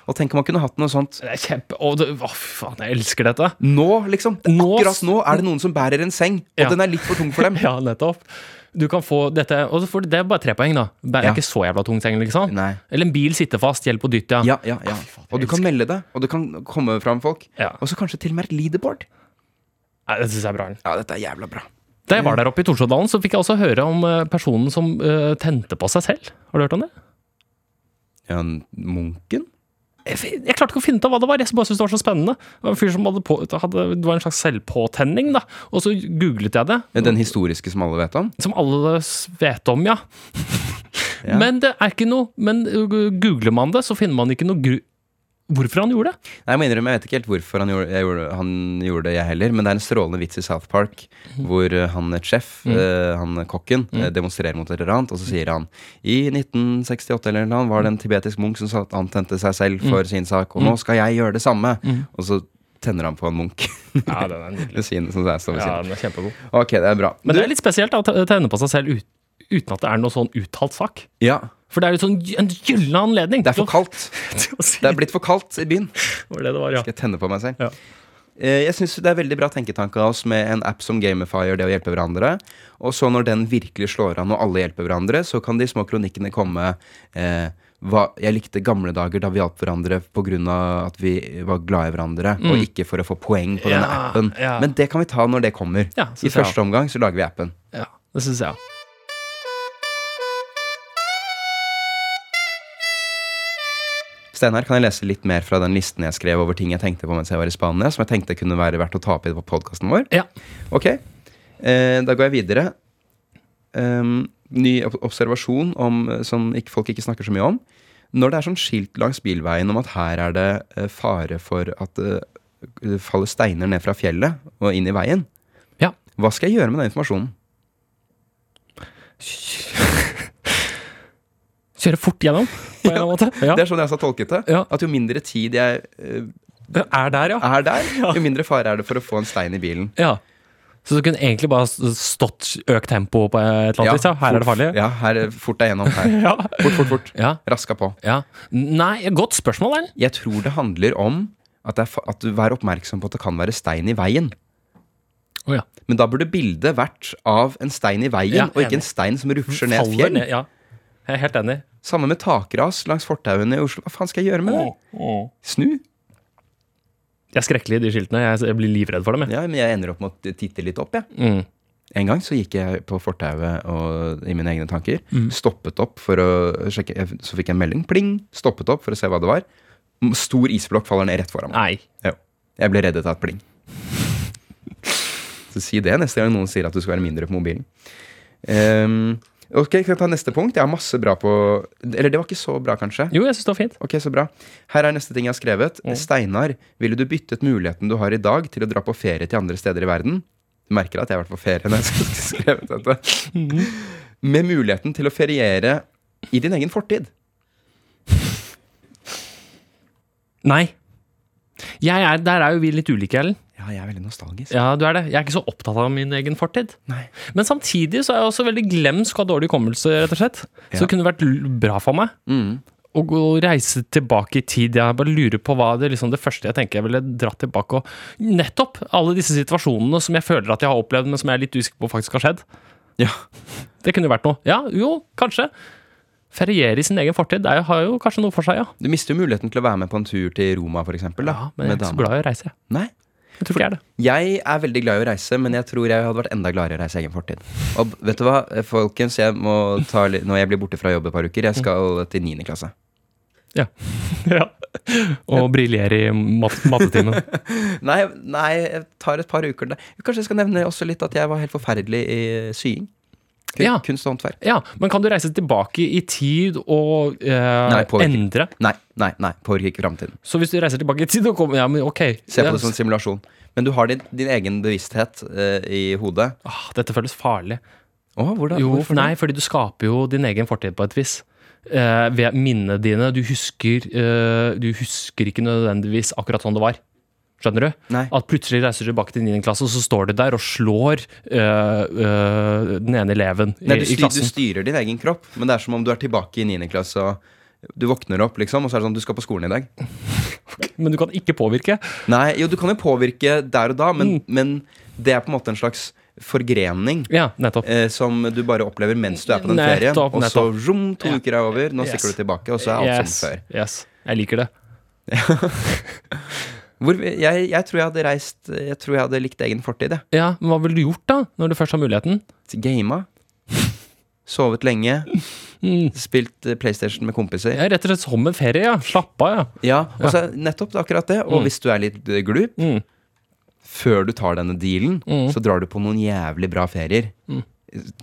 Speaker 2: Og tenk om man kunne hatt noe sånt
Speaker 3: Det er kjempe... Å, det, å, faen, jeg elsker dette.
Speaker 2: nå, liksom.
Speaker 3: Nå-
Speaker 2: Akkurat nå er det noen som bærer en seng, og
Speaker 3: Ja.
Speaker 2: den er litt for tung for dem.
Speaker 3: Ja, nettopp. Du kan få dette og så får du- Det er bare tre poeng, da. Det er
Speaker 2: Ja.
Speaker 3: ikke så jævla tung seng, liksom.
Speaker 2: Nei.
Speaker 3: Eller en bil sitter fast, hjelp og dytt, ja.
Speaker 2: Ja, ja, ja.
Speaker 3: Å, fy faen, jeg
Speaker 2: Og du kan melde deg, og det kan komme fram folk.
Speaker 3: Ja.
Speaker 2: Og så kanskje til og med et leaderboard.
Speaker 3: Nei, det synes jeg er bra.
Speaker 2: Ja, dette er jævla bra.
Speaker 3: Da jeg var der oppe i Torsådalen, så fikk jeg også høre om eh, personen som eh, tente på seg selv. Har du hørt om det?
Speaker 2: Ja, en- munken?
Speaker 3: Jeg, fi- jeg klarte ikke å finne ut av hva det var. Jeg bare syntes det var så spennende. Det var en fyr som hadde på, hadde, det var en slags selvpåtenning, da. Og så googlet jeg det.
Speaker 2: Ja, Den historiske som alle vet om?
Speaker 3: Som alle s- vet om, ja.
Speaker 2: Ja.
Speaker 3: Men det er ikke noe Men uh, googler man det, så finner man ikke noe gru... Hvorfor han gjorde det?
Speaker 2: Nei, Jeg må innrømme, jeg vet ikke helt hvorfor han gjorde, jeg gjorde, han gjorde det, jeg heller. Men det er en strålende vits i South Park
Speaker 3: Mhm.
Speaker 2: hvor eh, han et sjef, eh, han kokken, eh, demonstrerer mot et eller annet, og så sier han i 1968 eller noe var det en tibetisk munk som sa at han tente seg
Speaker 3: Mhm.
Speaker 2: selv for sin sak, og nå skal jeg gjøre det samme. Og så tenner han på en munk.
Speaker 3: Ja, den er nydelig.
Speaker 2: ved siden, som det er, står ved siden.
Speaker 3: den er kjempegod.
Speaker 2: Ok, det er bra.
Speaker 3: Men det er litt spesielt da, å te- tenne på seg selv ut, uten at det er noe sånn uttalt sak.
Speaker 2: Ja,
Speaker 3: For det er jo sånn gy- en gyllen anledning.
Speaker 2: det er for kaldt.
Speaker 3: til å si
Speaker 2: Det er blitt for kaldt i byen.
Speaker 3: var det det var, ja.
Speaker 2: Jeg tenner på meg selv.
Speaker 3: Ja.
Speaker 2: Eh, Jeg synes Det er veldig bra tenketanke av oss med en app som gamifier det å hjelpe hverandre. Og så når den virkelig slår an, og alle hjelper hverandre, så kan de små kronikkene komme. Eh, hva, jeg likte gamle dager da vi hjalp hverandre pga. at vi var glad i hverandre, og ikke for å få poeng på denne
Speaker 3: Mm. Ja,
Speaker 2: appen.
Speaker 3: ja.
Speaker 2: Men det kan vi ta når det kommer.
Speaker 3: Ja, synes
Speaker 2: I
Speaker 3: jeg
Speaker 2: første omgang så lager vi appen.
Speaker 3: ja det syns jeg.
Speaker 2: Steinar, kan jeg lese litt mer fra den listen jeg skrev over ting jeg tenkte på mens jeg var i Spania, som jeg tenkte kunne være verdt å ta opp i podkasten vår?
Speaker 3: Ja.
Speaker 2: Ok, eh, da går jeg videre. Um, ny ob- observasjon om, eh, som ikke, folk ikke snakker så mye om. Når det er sånn skilt langs bilveien om at her er det eh, fare for at eh, det faller steiner ned fra fjellet og inn i veien,
Speaker 3: Ja.
Speaker 2: hva skal jeg gjøre med den informasjonen?
Speaker 3: Kjøre fort gjennom, på en eller annen måte. Ja.
Speaker 2: Det er sånn jeg også har tolket det.
Speaker 3: Ja.
Speaker 2: At jo mindre tid jeg eh,
Speaker 3: Er der, ja.
Speaker 2: er der, jo mindre fare er det for å få en stein i bilen.
Speaker 3: ja. Så du kunne egentlig bare s- stått økt tempo på et eller annet vis? Ja. Her er det
Speaker 2: fort-
Speaker 3: farlig.
Speaker 2: Ja, her er fort deg gjennom. Her.
Speaker 3: Ja.
Speaker 2: Fort, fort, fort.
Speaker 3: ja.
Speaker 2: Raska på.
Speaker 3: ja. Nei, godt spørsmål, Erlend.
Speaker 2: Jeg tror det handler om at, det er, fa- at du vær oppmerksom på at det kan være stein i veien.
Speaker 3: Å ja.
Speaker 2: Men da burde bildet vært av en stein i veien,
Speaker 3: Ja,
Speaker 2: og ikke
Speaker 3: enig.
Speaker 2: en stein som rufser ned et
Speaker 3: Faller
Speaker 2: fjell.
Speaker 3: ned. Ja. Jeg er helt enig.
Speaker 2: Samme med takras langs fortauene i Oslo. Hva faen skal jeg gjøre med det? Snu?
Speaker 3: Jeg er skrekkelig i de skiltene. Jeg jeg blir livredd for dem. Jeg.
Speaker 2: Ja, men jeg ender opp med å titte litt opp, jeg.
Speaker 3: Mm.
Speaker 2: En gang så gikk jeg på fortauet og i mine egne tanker.
Speaker 3: Mm.
Speaker 2: Stoppet opp for å sjekke. jeg- Så fikk jeg en melding. Pling! Stoppet opp for å se hva det var. M- Stor isblokk faller ned rett foran meg.
Speaker 3: Nei.
Speaker 2: Jo. Jeg ble reddet av et pling. Så si det neste gang noen sier at du skal være mindre på mobilen. Ehm, ok, Skal jeg ta neste punkt? Jeg har masse bra på Eller det var ikke så bra, kanskje.
Speaker 3: Jo, jeg syns det var fint.
Speaker 2: Ok, så bra. Her er neste ting jeg har skrevet. Steinar, ville du byttet muligheten du har i dag til å dra på ferie til andre steder i verden? Du merker at jeg har vært på ferie når jeg har skrevet dette. Med muligheten til å feriere i din egen fortid.
Speaker 3: Nei. Jeg er, der er jo vi litt ulike, Ellen.
Speaker 2: Ja, jeg er veldig nostalgisk.
Speaker 3: Ja, du er det. Jeg er ikke så opptatt av min egen fortid.
Speaker 2: Nei.
Speaker 3: Men samtidig så er jeg også veldig glemsk og har dårlig hukommelse, rett og slett. Så det kunne vært l- bra for meg
Speaker 2: Mm.
Speaker 3: å gå og reise tilbake i tid. Jeg bare lurer på hva det, liksom, det første jeg tenker jeg ville dratt tilbake og Nettopp alle disse situasjonene som jeg føler at jeg har opplevd, men som jeg er litt usikker på faktisk har skjedd.
Speaker 2: Ja.
Speaker 3: Det kunne jo vært noe. Ja, jo, kanskje. Feriere i sin egen fortid det er jo- har jo kanskje noe for seg, ja.
Speaker 2: Du mister jo muligheten til å være med på en tur til Roma, for eksempel. Da,
Speaker 3: ja men jeg
Speaker 2: med
Speaker 3: er ikke så
Speaker 2: dama.
Speaker 3: glad i å reise. jeg.
Speaker 2: Nei.
Speaker 3: Jeg tror ikke jeg er det.
Speaker 2: Jeg er veldig glad i å reise, men jeg tror jeg hadde vært enda gladere i å reise i egen fortid. Og vet du hva, eh, folkens, jeg må ta litt, når jeg blir borte fra jobb et par uker, jeg skal til 9. klasse.
Speaker 3: Ja. ja. Og briljere i mat mattetimen.
Speaker 2: Nei, nei, jeg tar et par uker der. Kanskje jeg skal nevne også litt at jeg var helt forferdelig i sying. Kun,
Speaker 3: Ja.
Speaker 2: Kunst og håndverk.
Speaker 3: Ja, men kan du reise tilbake i tid og eh,
Speaker 2: Nei, påvirker.
Speaker 3: endre?
Speaker 2: Nei, nei, nei, påvirker ikke framtiden.
Speaker 3: Så hvis du reiser tilbake i tid og kommer Ja, men ok.
Speaker 2: Se på
Speaker 3: Ja,
Speaker 2: det som en simulasjon. Men du har din, din egen bevissthet eh, i hodet.
Speaker 3: ah, dette føles farlig.
Speaker 2: Å, hvordan?
Speaker 3: Jo,
Speaker 2: hvorfor
Speaker 3: nei, fordi du skaper jo din egen fortid på et vis. Eh, ved minnene dine. Du husker, eh, du husker ikke nødvendigvis akkurat sånn det var. Skjønner du?
Speaker 2: Nei.
Speaker 3: At plutselig reiser du tilbake til 9. klasse, og så står du der og slår øh, øh, den ene eleven i,
Speaker 2: Nei, du,
Speaker 3: i
Speaker 2: styr, du
Speaker 3: klassen.
Speaker 2: styrer din egen kropp, men det er som om du er tilbake i 9. klasse. Og du våkner opp, liksom, og så er det sånn du skal på skolen i dag.
Speaker 3: Men du kan ikke påvirke.
Speaker 2: Nei, jo, du kan jo påvirke der og da, men,
Speaker 3: Mm.
Speaker 2: men det er på en måte en slags forgrening.
Speaker 3: Ja, nettopp.
Speaker 2: Eh, som du bare opplever mens du er på den
Speaker 3: Nettopp,
Speaker 2: ferien. Og så
Speaker 3: nettopp.
Speaker 2: zoom, to
Speaker 3: Ja.
Speaker 2: uker er over, nå
Speaker 3: Yes.
Speaker 2: stikker du tilbake, og så er alt
Speaker 3: yes,
Speaker 2: som før.
Speaker 3: Yes. Jeg liker det.
Speaker 2: Hvor, vi- jeg, jeg tror jeg hadde reist Jeg tror jeg hadde likt egen fortid, jeg.
Speaker 3: Ja, Men hva ville du gjort, da? Når du først har muligheten?
Speaker 2: Gama. Sovet lenge.
Speaker 3: Mm.
Speaker 2: Spilt eh, PlayStation med kompiser.
Speaker 3: Ja, rett og slett som en ferie, ja. Slapp av, ja.
Speaker 2: Ja, og så er nettopp det er akkurat det. Og hvis du er litt eh, glup,
Speaker 3: Mm.
Speaker 2: før du tar denne dealen, så drar du på noen jævlig bra ferier.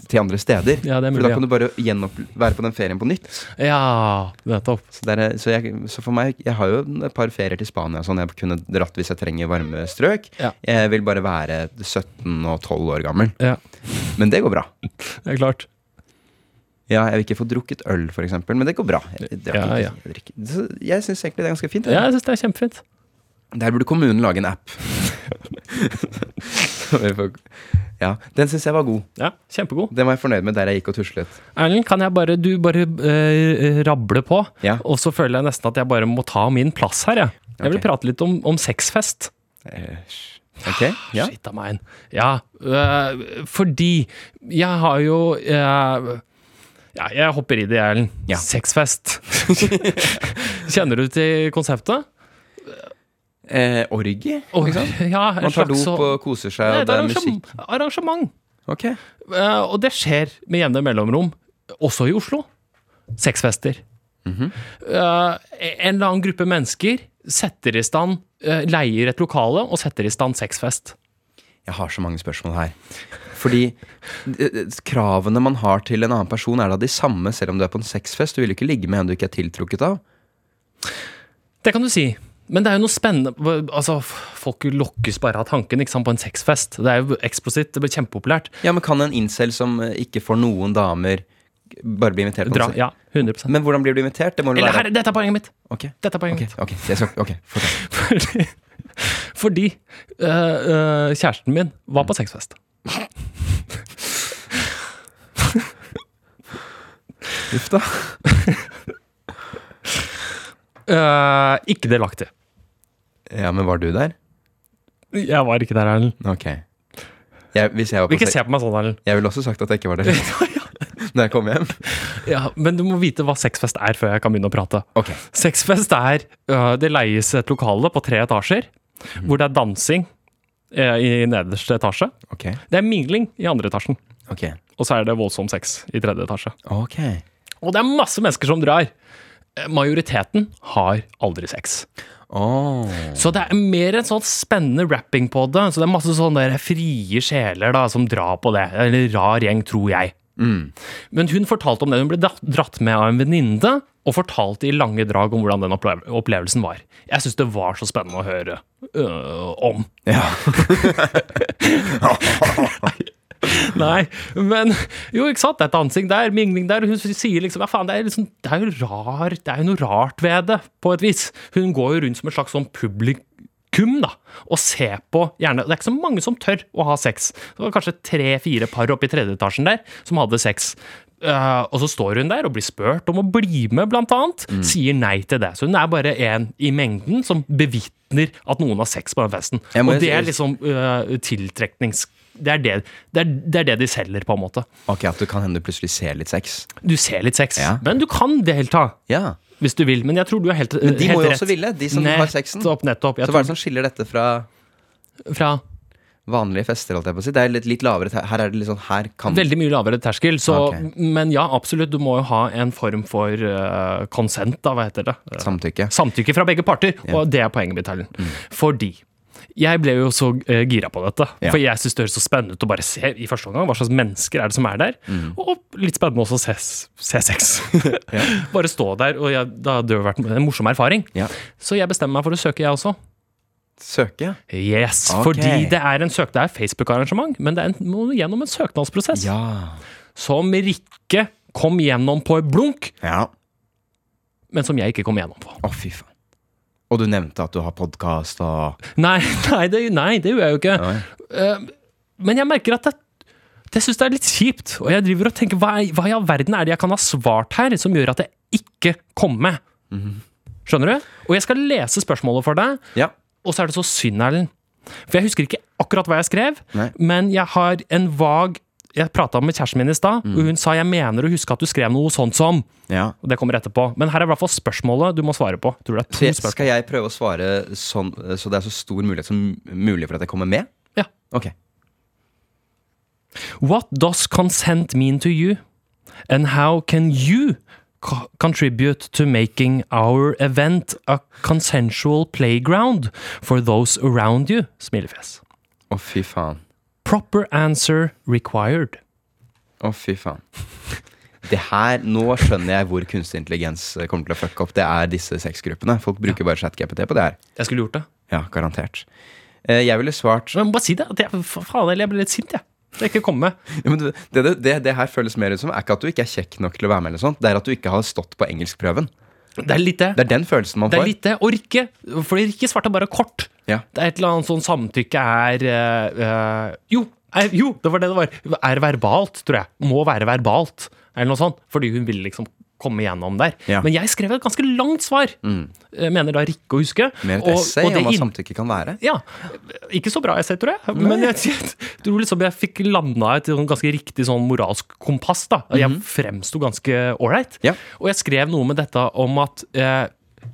Speaker 2: Til andre steder.
Speaker 3: Mm. Ja, det er
Speaker 2: For
Speaker 3: mulig,
Speaker 2: da
Speaker 3: ja.
Speaker 2: kan du bare gjenopp, være på den ferien på nytt.
Speaker 3: Ja, nettopp.
Speaker 2: Så, der er, eh, så, jeg, så for meg Jeg har jo et par ferier til Spania sånn jeg kunne dratt hvis jeg trenger varme strøk.
Speaker 3: Ja.
Speaker 2: Jeg vil bare være 17 og 12 år gammel.
Speaker 3: Ja,
Speaker 2: Men det går bra.
Speaker 3: det er klart.
Speaker 2: Ja, Jeg vil ikke få drukket øl, f.eks., men det går bra. Jeg, drakk
Speaker 3: Ja,
Speaker 2: ikke-
Speaker 3: ja.
Speaker 2: jeg, drikker- så jeg syns egentlig det er ganske fint.
Speaker 3: Ja, jeg syns det er kjempefint.
Speaker 2: Der burde kommunen lage en app. Så vi får- ja, Den syns jeg var god.
Speaker 3: Ja, kjempegod.
Speaker 2: Den var jeg fornøyd med der jeg gikk og tuslet.
Speaker 3: Erlend, kan jeg bare, du bare eh, rable på?
Speaker 2: Ja.
Speaker 3: Og så føler jeg nesten at jeg bare må ta min plass her, jeg. Jeg vil
Speaker 2: Ok.
Speaker 3: prate litt om, om sexfest.
Speaker 2: Eh, sh- Ok? Ja.
Speaker 3: Ah, Shit av meg. Ja, øh, fordi jeg har jo øh, Ja, jeg hopper i det, Erlend.
Speaker 2: Ja.
Speaker 3: Sexfest. Kjenner du til konseptet?
Speaker 2: Eh, orgie?
Speaker 3: Og-
Speaker 2: Ikke sant?
Speaker 3: ja, en
Speaker 2: Man tar
Speaker 3: slags-
Speaker 2: dop og koser seg,
Speaker 3: Nei,
Speaker 2: og
Speaker 3: det er
Speaker 2: sånn- det er sånn- musikk.
Speaker 3: arrangement. arrangement.
Speaker 2: Ok.
Speaker 3: Eh, og det skjer med jevne mellomrom, også i Oslo. Sexfester.
Speaker 2: Mhm.
Speaker 3: Eh, en eller annen gruppe mennesker setter i stand, eh, leier et lokale og setter i stand sexfest.
Speaker 2: Jeg har så mange spørsmål her. Fordi eh, eh, kravene man har til en annen person, er da de samme selv om du er på en sexfest? Du vil jo ikke ligge med en du ikke er tiltrukket av.
Speaker 3: Det kan du si. Men det er jo noe spennende altså, f- Folk lokkes bare av tanken ikke sant, på en sexfest. Det er jo eksplosivt. Det blir kjempepopulært.
Speaker 2: Ja, men kan en incel som eh, ikke får noen damer, bare bli invitert på en
Speaker 3: Dra,
Speaker 2: se-
Speaker 3: ja, 100
Speaker 2: Men hvordan blir du invitert? Det må vel
Speaker 3: Eller her,
Speaker 2: være
Speaker 3: dette er poenget mitt!
Speaker 2: Ok,
Speaker 3: Dette er
Speaker 2: ok,
Speaker 3: poenget mitt.
Speaker 2: ok. Jeg skal, ok, fortell.
Speaker 3: Fordi, fordi øh, øh, kjæresten min var på sexfest.
Speaker 2: Uff da.
Speaker 3: Eh, ikke delaktig.
Speaker 2: Ja, men var du der?
Speaker 3: Jeg var ikke der, Erlend.
Speaker 2: Ok. Jeg, hvis jeg var på
Speaker 3: Ikke
Speaker 2: se-
Speaker 3: se på meg sånn, Erlend.
Speaker 2: Jeg ville også sagt at jeg ikke var der når jeg kom hjem.
Speaker 3: Ja, men du må vite hva sexfest er før jeg kan begynne å prate.
Speaker 2: Ok.
Speaker 3: Sexfest er øh, Det leies et lokale på tre etasjer, hvor det er dansing eh, i nederste etasje.
Speaker 2: Ok.
Speaker 3: Det er mingling i andre etasjen.
Speaker 2: Ok.
Speaker 3: Og så er det voldsom sex i tredje etasje.
Speaker 2: Ok.
Speaker 3: Og det er masse mennesker som drar. Eh, Majoriteten har aldri sex.
Speaker 2: Åh.
Speaker 3: Så det er mer en sånn spennende rapping på det. Så det er masse sånne der frie sjeler da, som drar på det. En rar gjeng, tror jeg. Men hun fortalte om det. Hun ble dratt- dratt med av en venninne, og fortalte i lange drag om hvordan den opple- opplevelsen var. Jeg syns det var så spennende å høre øh, om.
Speaker 2: Ja.
Speaker 3: Nei, men jo, ikke sant. Det er dansing der, mingling der. og Hun sier liksom ja, faen, det er, liksom, det er jo rar, det er jo noe rart ved det, på et vis. Hun går jo rundt som et slags sånn publikum, da, og ser på gjerne Det er ikke så mange som tør å ha sex. Det var kanskje tre-fire par oppe i tredje etasjen der som hadde sex. Eh, og så står hun der og blir spurt om å bli med, blant annet.
Speaker 2: Mm.
Speaker 3: Sier nei til det. Så hun er bare en i mengden som bevitner at noen har sex på den festen.
Speaker 2: Jeg må
Speaker 3: Og det
Speaker 2: si-
Speaker 3: er liksom øh, tiltreknings... Det er det, det, er, det er det de selger, på en måte.
Speaker 2: Ok, at du kan hende du plutselig ser litt sex.
Speaker 3: Du ser litt sex,
Speaker 2: Ja.
Speaker 3: men du kan delta
Speaker 2: Ja.
Speaker 3: hvis du vil. Men jeg tror du er helt,
Speaker 2: Men de
Speaker 3: helt
Speaker 2: må jo
Speaker 3: rett.
Speaker 2: også ville, de som har sexen.
Speaker 3: Nettopp, nettopp. Jeg
Speaker 2: Så hva er det som skiller dette fra
Speaker 3: tror fra
Speaker 2: vanlige fester, holdt jeg på å si? Det er litt, litt lavere. te- Her er det litt sånn, her kan
Speaker 3: veldig mye lavere terskel. Så,
Speaker 2: Ok.
Speaker 3: Men ja, absolutt, du må jo ha en form for øh, konsent, da, hva heter det?
Speaker 2: samtykke.
Speaker 3: Samtykke fra begge parter, og det er poenget mitt, Erlend. Fordi jeg ble jo så eh, gira på dette,
Speaker 2: Ja.
Speaker 3: for jeg syns det høres så spennende ut å bare se i første omgang hva slags mennesker er det som er der,
Speaker 2: Mm.
Speaker 3: og litt spennende også å se, se sex. bare stå der, og jeg, da hadde det jo vært en morsom erfaring.
Speaker 2: Ja.
Speaker 3: Så jeg bestemmer meg for å søke, jeg også.
Speaker 2: Søke, ja.
Speaker 3: Yes,
Speaker 2: Ok.
Speaker 3: Fordi det er en søk, det er Facebook-arrangement, men det er en, må gjennom en søknadsprosess.
Speaker 2: Ja.
Speaker 3: Som Rikke kom gjennom på et blunk,
Speaker 2: Ja.
Speaker 3: men som jeg ikke kom gjennom på.
Speaker 2: Å, fy faen. Og du nevnte at du har podkast og
Speaker 3: Nei, nei, det, nei, det gjør jeg jo ikke.
Speaker 2: Nei.
Speaker 3: Eh, men jeg merker at det, det syns det er litt kjipt. Og jeg driver og tenker hva, i- hva i all verden er det jeg kan ha svart her som gjør at jeg ikke kommer med?
Speaker 2: Mhm.
Speaker 3: Skjønner du? Og jeg skal lese spørsmålet for deg,
Speaker 2: Ja.
Speaker 3: og så er det så synd, Erlend. For jeg husker ikke akkurat hva jeg skrev,
Speaker 2: Nei.
Speaker 3: men jeg har en vag Jeg prata med kjæresten min i stad,
Speaker 2: Mm.
Speaker 3: og hun sa jeg mener å huske at du skrev noe sånt som
Speaker 2: ja.
Speaker 3: Og det kommer etterpå. Men her er i hvert fall spørsmålet du må svare på. Tror det er
Speaker 2: Så
Speaker 3: to
Speaker 2: jeg,
Speaker 3: spørsmål.
Speaker 2: skal jeg prøve å svare sånn, så det er så stor mulighet som mulig for at jeg kommer med?
Speaker 3: Ja.
Speaker 2: Ok.
Speaker 3: What does consent mean to you? And how can you co- contribute to making our event a consensual playground for those around you? Smilefjes.
Speaker 2: Å, fy faen.
Speaker 3: Proper answer required.
Speaker 2: Å, fy faen. Det her, Nå skjønner jeg hvor kunstig intelligens eh, kommer til å fucke opp. Det er disse sexgruppene. Folk bruker bare ChatGPT på det her.
Speaker 3: Jeg skulle gjort det.
Speaker 2: Ja, garantert. Eh, Jeg ville svart
Speaker 3: Men bare si det. at Jeg, fa- faen, jeg ble litt sint, jeg. Det er ikke kommet.
Speaker 2: Ja, men det, det, det, det her føles mer ut som er ikke at du ikke er kjekk nok til å være med. eller sånt Det er at du ikke har stått på engelskprøven.
Speaker 3: Det er litt det.
Speaker 2: Det er den følelsen man
Speaker 3: Det er
Speaker 2: får.
Speaker 3: litt det. Og Rikke. For Rikke svarte bare kort.
Speaker 2: Ja.
Speaker 3: Det er et eller annet sånn samtykke er eh, eh, Jo! Er, jo, det var det det var. Er verbalt, tror jeg. Må være verbalt. Eller noe sånt. Fordi hun ville liksom komme gjennom der.
Speaker 2: Ja. Mm.
Speaker 3: Men jeg skrev et ganske langt svar, eh, mener da Rikke å huske.
Speaker 2: Med et essay om hva samtykke kan være.
Speaker 3: Ja. Ikke så bra essay, tror jeg. Men jeg, jeg tror liksom jeg fikk landa et sånn ganske riktig sånn moralsk kompass. da. Jeg fremsto ganske ålreit.
Speaker 2: Mhm. Ja.
Speaker 3: Og jeg skrev noe med dette om at eh,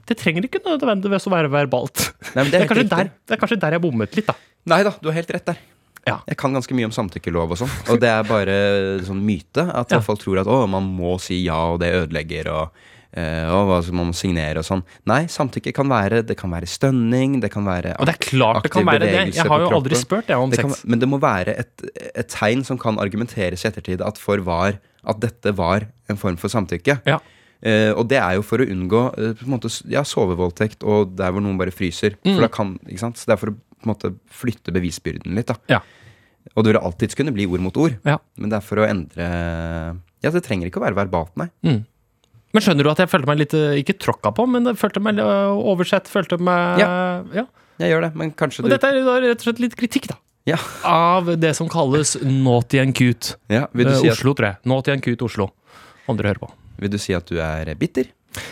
Speaker 3: det trenger ikke nødvendigvis å være verbalt.
Speaker 2: Nei, men det er helt
Speaker 3: kanskje
Speaker 2: riktig.
Speaker 3: der, det er kanskje der jeg bommet litt, da.
Speaker 2: Nei da, du har helt rett der.
Speaker 3: Ja.
Speaker 2: Jeg kan ganske mye om samtykkelov og sånn. Og det er bare sånn myte. At
Speaker 3: Ja.
Speaker 2: folk tror at å, man må si ja, og det ødelegger, og, eh, og hva som man må signere og sånn. Nei, samtykke kan være Det kan være stønning, det kan være
Speaker 3: Og det er klart det kan
Speaker 2: aktiv
Speaker 3: være det.
Speaker 2: bevegelse
Speaker 3: Jeg har
Speaker 2: på
Speaker 3: jo aldri
Speaker 2: kroppen.
Speaker 3: spurt jeg om
Speaker 2: Det kan,
Speaker 3: sex.
Speaker 2: men det må være et, et tegn som kan argumenteres i ettertid at for var at dette var en form for samtykke.
Speaker 3: Ja.
Speaker 2: Eh, og det er jo for å unngå eh, på en måte, s- ja, sovevoldtekt og der hvor noen bare fryser.
Speaker 3: Mm.
Speaker 2: For da kan, ikke sant? Så det er for å på en måte, flytte bevisbyrden litt. da
Speaker 3: Ja.
Speaker 2: Og det vil alltids kunne bli ord mot ord,
Speaker 3: Ja.
Speaker 2: men det er for å endre Ja, det trenger ikke å være verbalt, nei.
Speaker 3: Mm. Men skjønner du at jeg følte meg litt eh, ikke tråkka på, men jeg følte meg eh, oversett, følte meg
Speaker 2: Ja.
Speaker 3: ja.
Speaker 2: Jeg gjør det, men kanskje
Speaker 3: Og
Speaker 2: du
Speaker 3: dette er da rett og slett litt kritikk, da.
Speaker 2: ja.
Speaker 3: Av det som kalles naughty and cute.
Speaker 2: Ja, vil, du
Speaker 3: Eh,
Speaker 2: si at,
Speaker 3: Oslo, tror jeg. Naughty and cute Oslo. Om dere hører på.
Speaker 2: vil du si at du er bitter?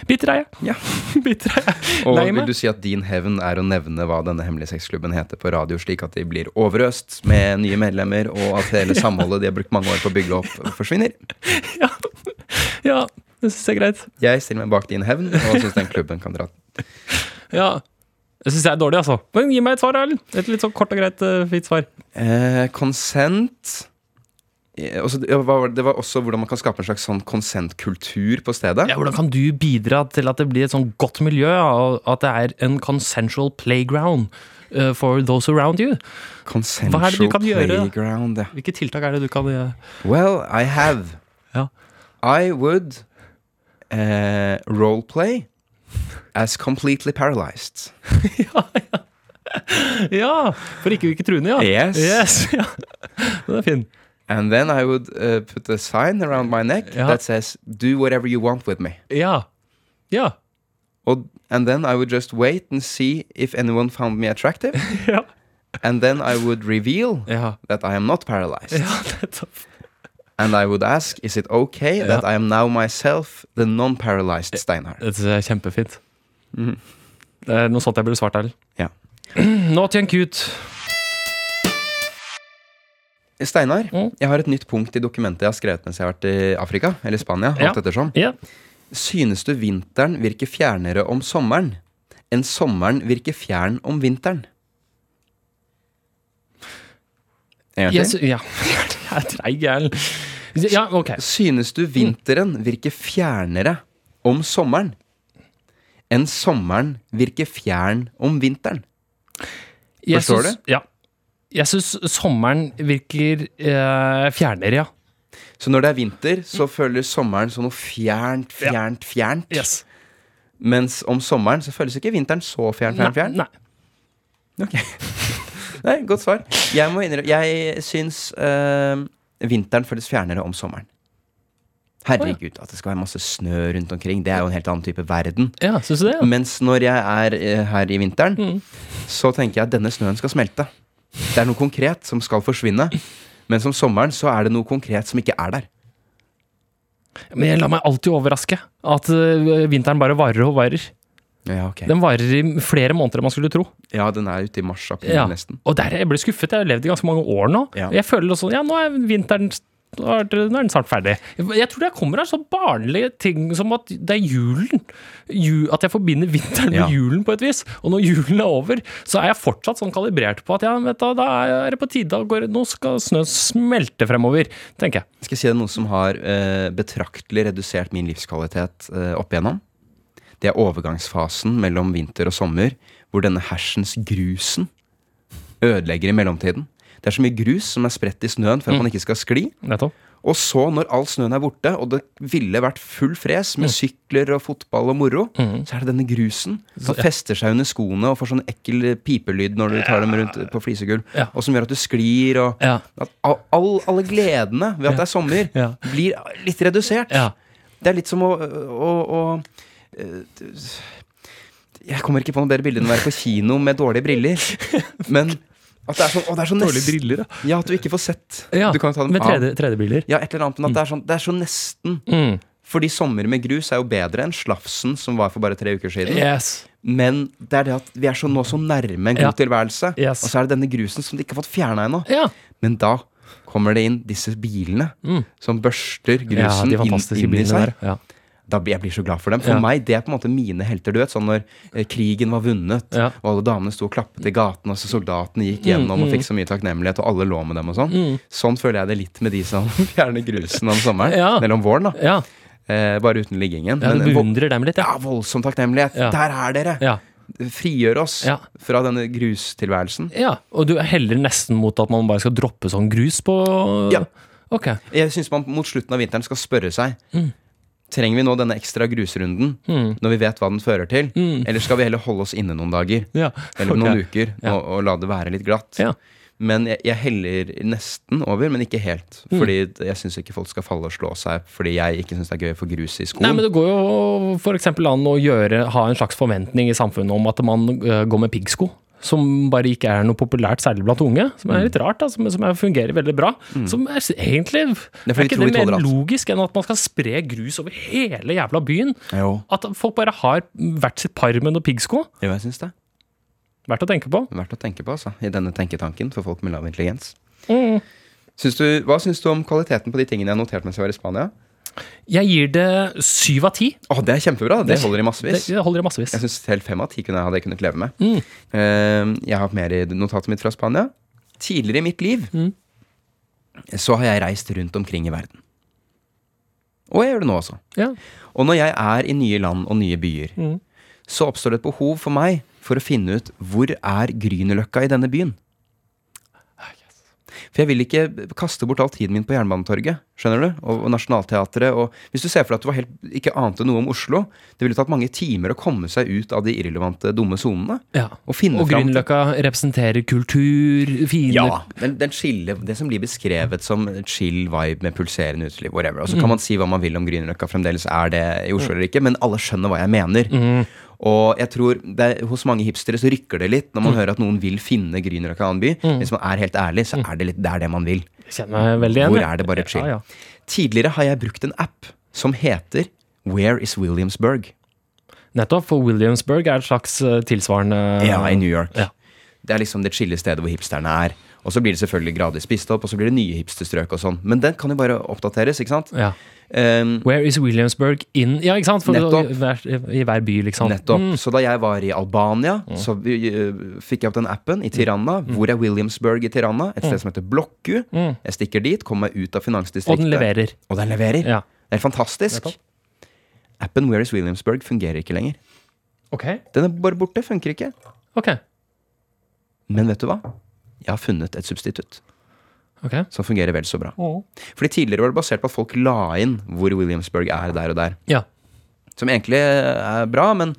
Speaker 3: Bitter er jeg.
Speaker 2: Ja.
Speaker 3: Bitter er jeg.
Speaker 2: Og
Speaker 3: Lei
Speaker 2: vil
Speaker 3: meg.
Speaker 2: du si at din hevn er å nevne hva denne hemmelige sexklubben heter på radio, slik at de blir overøst med nye medlemmer, og at hele samholdet de har brukt mange år på å bygge opp, forsvinner?
Speaker 3: Ja, ja det syns jeg er greit.
Speaker 2: Jeg stiller meg bak din hevn og syns den klubben kan dra.
Speaker 3: Ja. Det syns jeg er dårlig, altså. Men gi meg et svar, Erlend. Et litt sånn kort og greit, eh, fint svar.
Speaker 2: Eh, Consent eh, også, ja, hva var det? det var også hvordan man kan skape en slags sånn consent-kultur på stedet.
Speaker 3: Ja, hvordan kan du bidra til at det blir et sånn godt miljø, og at det er en consensual playground eh, for those around you?
Speaker 2: Consensual
Speaker 3: Hva er det du kan gjøre, da?
Speaker 2: playground. ja.
Speaker 3: Hvilke tiltak er det du kan eh, gjøre?
Speaker 2: Well, I have.
Speaker 3: Ja.
Speaker 2: I would eh, roleplay as completely paralyzed.
Speaker 3: Ja! For ikke virke truende, ja.
Speaker 2: Yes.
Speaker 3: ja. Den er fin.
Speaker 2: And then I would uh, put a sign around my neck
Speaker 3: Ja.
Speaker 2: that says, do whatever you want with me.
Speaker 3: Ja. Ja.
Speaker 2: Og- and then I would just wait and see if anyone found me attractive.
Speaker 3: Ja.
Speaker 2: and then I would reveal
Speaker 3: Ja,
Speaker 2: that I am not paralyzed.
Speaker 3: ja nettopp.
Speaker 2: And I would ask, is it okay that
Speaker 3: Ja. Eh,
Speaker 2: I am now myself the non-paralyzed Steinar?
Speaker 3: Det synes jeg er kjempefint. Det er noe sånt jeg burde svart, Erlend.
Speaker 2: Mhm. Ja.
Speaker 3: Nå til en kut.
Speaker 2: Steinar,
Speaker 3: Mm.
Speaker 2: jeg har et nytt punkt i dokumentet jeg har skrevet mens jeg har vært i Afrika, eller Spania,
Speaker 3: Ja.
Speaker 2: alt ettersom.
Speaker 3: Ja.
Speaker 2: Synes du vinteren virker fjernere om sommeren enn sommeren virker fjern om vinteren? En gang
Speaker 3: Jeg
Speaker 2: til.
Speaker 3: sy- ja. Jeg er treig, Erlend. Ja, ok.
Speaker 2: Synes du vinteren virker fjernere om sommeren enn sommeren virker fjern om vinteren?
Speaker 3: Jeg
Speaker 2: Forstår
Speaker 3: syns- Ja. Jeg syns sommeren virker eh, fjernere, ja.
Speaker 2: Så når det er vinter,
Speaker 3: Mm.
Speaker 2: så føles sommeren som noe fjernt, fjernt, fjernt. Mens om sommeren så føles ikke vinteren så fjern, fjern, fjern.
Speaker 3: Nei, nei.
Speaker 2: Nei, godt svar. Jeg må innrømme Jeg syns eh, vinteren føles fjernere om sommeren. Herregud, at det skal være masse snø rundt omkring. Det er jo en helt annen type verden.
Speaker 3: Ja, syns du det? Ja? Mm.
Speaker 2: Mens når jeg er eh, her i vinteren, så tenker jeg at denne snøen skal smelte. Det er noe konkret som skal forsvinne. Mens om sommeren så er det noe konkret som ikke er der.
Speaker 3: Men jeg lar meg alltid overraske. At øh, vinteren bare varer og varer.
Speaker 2: Ja, ok.
Speaker 3: Den varer i flere måneder enn man skulle tro.
Speaker 2: Ja, den er ute i mars-april
Speaker 3: Ja.
Speaker 2: nesten.
Speaker 3: Og der jeg ble skuffet. Jeg har levd i ganske mange år nå.
Speaker 2: Ja.
Speaker 3: Og jeg føler også, ja, nå er vinteren nå er det- nå er den snart ferdig. Jeg tror det kommer av så barnlige ting som at det er julen. Ju, at jeg forbinder vinteren med
Speaker 2: Ja.
Speaker 3: julen på et vis. Og når julen er over, så er jeg fortsatt sånn kalibrert på at ja, vet du, da er det på tide å gå Nå skal snøen smelte fremover, tenker jeg.
Speaker 2: Skal jeg si deg noe som har eh, betraktelig redusert min livskvalitet eh, opp igjennom? Det er overgangsfasen mellom vinter og sommer, hvor denne hersens grusen ødelegger i mellomtiden. Det er så mye grus som er spredt i snøen
Speaker 3: Mm.
Speaker 2: for at man ikke skal skli.
Speaker 3: Nettopp.
Speaker 2: Og så, når all snøen er borte, og det ville vært full fres
Speaker 3: Mm.
Speaker 2: med sykler og fotball og moro, så er det denne grusen som fester seg under skoene og får sånn ekkel pipelyd når du tar dem rundt på flisegulv,
Speaker 3: Ja.
Speaker 2: og som gjør at du sklir, og
Speaker 3: Ja.
Speaker 2: at all, all- alle gledene ved at det er sommer,
Speaker 3: Ja.
Speaker 2: blir litt redusert.
Speaker 3: Ja.
Speaker 2: Det er litt som å, å, å øh, Jeg kommer ikke på noe bedre bilde enn å være på kino med dårlige briller, men at det er sånn, å, det er sånn nest-
Speaker 3: briller,
Speaker 2: Ja, at du ikke får sett.
Speaker 3: ja.
Speaker 2: du kan jo ta dem
Speaker 3: med
Speaker 2: av.
Speaker 3: 3D, 3D-briller.
Speaker 2: Ja, et eller annet, men at det er, sånn, det er så nesten.
Speaker 3: Mm.
Speaker 2: Fordi sommer med grus er jo bedre enn slafsen som var for bare tre uker siden.
Speaker 3: Yes.
Speaker 2: Men det er det at vi er så, nå så nærme en god
Speaker 3: Ja.
Speaker 2: tilværelse.
Speaker 3: Yes.
Speaker 2: Og så er det denne grusen som de ikke har fått fjerna ennå.
Speaker 3: Ja.
Speaker 2: Men da kommer det inn disse bilene som børster
Speaker 3: Mm. ja,
Speaker 2: grusen
Speaker 3: de
Speaker 2: inn,
Speaker 3: fantastiske
Speaker 2: inn i
Speaker 3: bilene
Speaker 2: seg.
Speaker 3: der. Ja.
Speaker 2: Da blir jeg blir så glad for dem. For
Speaker 3: Ja.
Speaker 2: meg, det er på en måte mine helter. Du vet, sånn når eh, krigen var vunnet,
Speaker 3: Ja. Mm,
Speaker 2: og alle damene sto og klappet i gaten, og så soldatene gikk gjennom og fikk så mye takknemlighet, og alle lå med dem og sånn. Sånn føler jeg det litt med de som fjerner grusen om sommeren.
Speaker 3: Ja.
Speaker 2: Eller om våren, da.
Speaker 3: ja.
Speaker 2: Eh, bare uten liggingen.
Speaker 3: ja du
Speaker 2: Men vo
Speaker 3: beundrer dem litt, ja.
Speaker 2: ja, voldsom takknemlighet.
Speaker 3: Ja.
Speaker 2: Der er dere!
Speaker 3: ja.
Speaker 2: Frigjør oss
Speaker 3: Ja.
Speaker 2: fra denne grustilværelsen.
Speaker 3: Ja, og du heller nesten mot at man bare skal droppe sånn grus på
Speaker 2: Ja.
Speaker 3: Ok.
Speaker 2: Jeg syns man mot slutten av vinteren skal spørre seg Trenger vi nå denne ekstra grusrunden når vi vet hva den fører til? Eller skal vi heller holde oss inne noen dager?
Speaker 3: Ja.
Speaker 2: Eller
Speaker 3: ok.
Speaker 2: noen uker,
Speaker 3: Ja.
Speaker 2: og, og la det være litt glatt.
Speaker 3: Ja.
Speaker 2: Men jeg, jeg heller nesten over, men ikke helt.
Speaker 3: Mm.
Speaker 2: Fordi jeg syns ikke folk skal falle og slå seg fordi jeg ikke syns det er gøy å få grus i skoen.
Speaker 3: Nei, men det går jo f.eks. an å gjøre, ha en slags forventning i samfunnet om at man øh, går med piggsko. Som bare ikke er noe populært, særlig blant unge. Som
Speaker 2: Mm.
Speaker 3: er litt rart, da, som, som er, fungerer veldig bra. Som er s- egentlig
Speaker 2: er
Speaker 3: Er,
Speaker 2: fordi vi
Speaker 3: ikke
Speaker 2: tror
Speaker 3: det
Speaker 2: vi
Speaker 3: mer
Speaker 2: tåler alt.
Speaker 3: logisk enn at man skal spre grus over hele jævla byen?
Speaker 2: Jo,
Speaker 3: At folk bare har hvert sitt par med noen piggsko?
Speaker 2: jo, jeg syns det.
Speaker 3: Verdt å tenke på.
Speaker 2: Verdt å tenke på, altså. I denne tenketanken for folk med lav intelligens.
Speaker 3: Mm.
Speaker 2: Syns du, hva syns du om kvaliteten på de tingene jeg noterte mens jeg var i Spania?
Speaker 3: Jeg gir det syv av ti.
Speaker 2: Å, det er kjempebra! Det holder i
Speaker 3: Det,
Speaker 2: massevis.
Speaker 3: det holder i massevis.
Speaker 2: Jeg syns selv fem av ti kunne jeg hadde jeg kunnet leve med. Eh, jeg har hatt mer i notatet mitt fra Spania. Tidligere i mitt liv så har jeg reist rundt omkring i verden. Og jeg gjør det nå også.
Speaker 3: Ja.
Speaker 2: Og når jeg er i nye land og nye byer,
Speaker 3: Mm.
Speaker 2: så oppstår det et behov for meg for å finne ut hvor er Grünerløkka i denne byen.
Speaker 3: Ah,
Speaker 2: For jeg vil ikke kaste bort all tiden min på Jernbanetorget skjønner du? Og, og Nationaltheatret. Og hvis du ser for deg at du var helt, ikke ante noe om Oslo Det ville tatt mange timer å komme seg ut av de irrelevante, dumme sonene.
Speaker 3: Ja.
Speaker 2: Og finne
Speaker 3: Og
Speaker 2: fram til-
Speaker 3: Grünerløkka representerer kultur, fine
Speaker 2: Ja, den, den skille, det som blir beskrevet som chill vibe med pulserende uteliv, whatever. Og så kan man si hva man vil om Grünerløkka fremdeles er det i Oslo eller ikke, men alle skjønner hva jeg mener. Og jeg tror det, er- hos mange hipstere så rykker det litt når man hører at noen vil finne Grünerløkka annen by. Hvis man er helt ærlig, så er det litt, det er det man vil.
Speaker 3: Jeg kjenner meg veldig igjen.
Speaker 2: Hvor
Speaker 3: jeg.
Speaker 2: er det bare chill?
Speaker 3: Ja, ja.
Speaker 2: Tidligere har jeg brukt en app som heter Where is Williamsburg?
Speaker 3: Nettopp, for Williamsburg er et slags eh, tilsvarende
Speaker 2: Ja, i New York.
Speaker 3: Ja.
Speaker 2: Det er liksom det chille stedet hvor hipsterne er. Og så blir det selvfølgelig gradvis spist opp, og så blir det nye hipsterstrøk og sånn. Men den kan jo bare oppdateres, ikke sant?
Speaker 3: Ja.
Speaker 2: Ehm,
Speaker 3: Where is Williamsburg in Ja, ikke sant? For
Speaker 2: Nettopp.
Speaker 3: I, hver, I hver by, liksom.
Speaker 2: nettopp. Så da jeg var i Albania,
Speaker 3: Mm.
Speaker 2: så eh, fikk jeg opp den appen i Tiranna. Hvor er Williamsburg i Tiranna? Et sted som heter Blokku. Jeg stikker dit, kommer meg ut av finansdistriktet.
Speaker 3: Mm. Og den leverer.
Speaker 2: Og den leverer.
Speaker 3: Ja.
Speaker 2: Det er fantastisk.
Speaker 3: Nettopp.
Speaker 2: Appen Where is Williamsburg fungerer ikke lenger.
Speaker 3: Ok.
Speaker 2: Den er bare borte, funker ikke.
Speaker 3: Ok.
Speaker 2: Men vet du hva? Jeg har funnet et substitutt
Speaker 3: ok.
Speaker 2: som fungerer vel så bra. Fordi tidligere var det basert på at folk la inn hvor Williamsburg er der og der.
Speaker 3: Ja.
Speaker 2: Som egentlig er bra, men,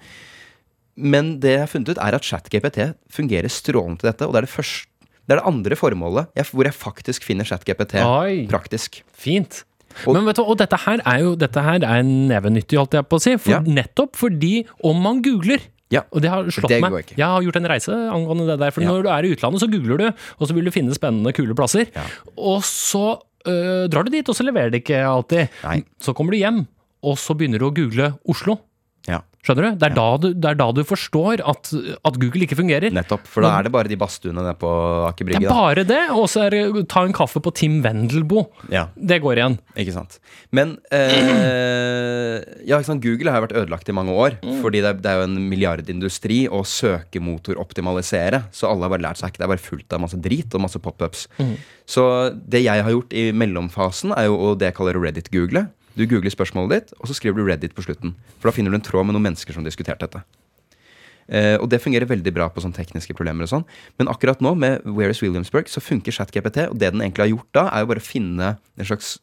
Speaker 2: men det jeg har funnet ut, er at ChatGPT fungerer strålende til dette. Og det er det, første, det, er det andre formålet jeg, hvor jeg faktisk finner ChatGPT
Speaker 3: Oi.
Speaker 2: praktisk.
Speaker 3: Fint.
Speaker 2: Og-
Speaker 3: Men vet du, hva, og dette her er jo Dette her er nevenyttig, holdt jeg på å si.
Speaker 2: Ja.
Speaker 3: For, Nettopp fordi om man googler
Speaker 2: Ja.
Speaker 3: Og det har slått
Speaker 2: Det går
Speaker 3: meg.
Speaker 2: ikke.
Speaker 3: Jeg har gjort en reise angående det der. For
Speaker 2: Ja.
Speaker 3: når du er i utlandet, så googler du, og så vil du finne spennende, kule plasser.
Speaker 2: Ja.
Speaker 3: Og så øh, drar du dit, og så leverer det ikke alltid.
Speaker 2: Nei.
Speaker 3: Så kommer du hjem, og så begynner du å google Oslo.
Speaker 2: Ja,
Speaker 3: Skjønner du? Det er, da, du, det er da du forstår at, at Google ikke fungerer.
Speaker 2: nettopp. For da er det bare de badstuene nede på Aker
Speaker 3: Det
Speaker 2: Brygge.
Speaker 3: er
Speaker 2: da.
Speaker 3: bare det, og så er det ta en kaffe på Tim Wendelboe.
Speaker 2: Ja,
Speaker 3: Det går igjen.
Speaker 2: ikke sant. Men eh, ja, ikke sant? Google har jo vært ødelagt i mange år. Fordi det er, det er jo en milliardindustri å søkemotoroptimalisere. Så alle har bare lært seg ikke. Det er bare fullt av masse drit og masse pop-ups. Så det jeg har gjort i mellomfasen, er jo å- det jeg kaller å Reddit-google. Du googler spørsmålet ditt, og så skriver du Reddit på slutten. For da finner du en tråd med noen mennesker som diskuterte dette. Eh, og det fungerer veldig bra på sånne tekniske problemer. og sånn Men akkurat nå med Where is Williamsburg så funker ChatGPT. Og det den egentlig har gjort da, er jo bare å finne en slags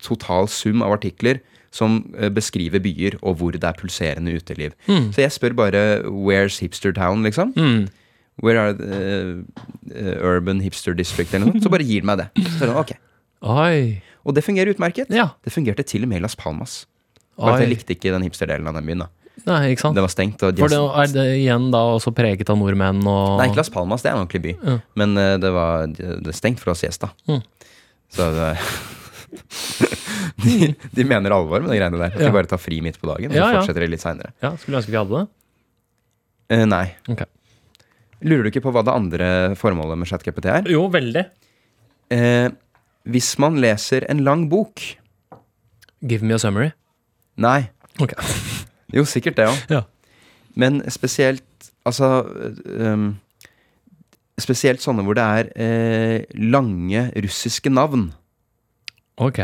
Speaker 2: total sum av artikler som eh, beskriver byer og hvor det er pulserende uteliv.
Speaker 3: Hmm.
Speaker 2: Så jeg spør bare Where's Hipster Town, liksom?
Speaker 3: Mm.
Speaker 2: Where are the eh, Urban Hipster District, eller noe sånt. Så bare gir den meg det. Så er det sånn, ok.
Speaker 3: Oi.
Speaker 2: Og det fungerer utmerket.
Speaker 3: Ja.
Speaker 2: Det fungerte til og med i Las Palmas. Bare at
Speaker 3: Oi.
Speaker 2: jeg likte ikke den hipsterdelen av den byen. da
Speaker 3: Nei, ikke sant?
Speaker 2: Det var stengt. Og
Speaker 3: For det er det igjen da også preget av nordmenn og
Speaker 2: Nei, ikke Las Palmas, det er en ordentlig by.
Speaker 3: Ja.
Speaker 2: Men eh, det var det er stengt for å ha siesta.
Speaker 3: Mm.
Speaker 2: Så det, de, de mener alvor med de greiene der. At
Speaker 3: Ja.
Speaker 2: de bare tar fri midt på dagen, og
Speaker 3: Ja,
Speaker 2: så
Speaker 3: ja.
Speaker 2: fortsetter de litt seinere.
Speaker 3: Ja, Skulle ønske vi hadde det.
Speaker 2: nei.
Speaker 3: Ok.
Speaker 2: Lurer du ikke på hva det andre formålet med ChatGPT er?
Speaker 3: Jo, veldig.
Speaker 2: Eh, hvis man leser en lang bok
Speaker 3: Give me a summary.
Speaker 2: Nei.
Speaker 3: Ok.
Speaker 2: Jo, sikkert det òg.
Speaker 3: Ja.
Speaker 2: Men spesielt Altså eh, um, Spesielt sånne hvor det er eh, lange russiske navn.
Speaker 3: Ok.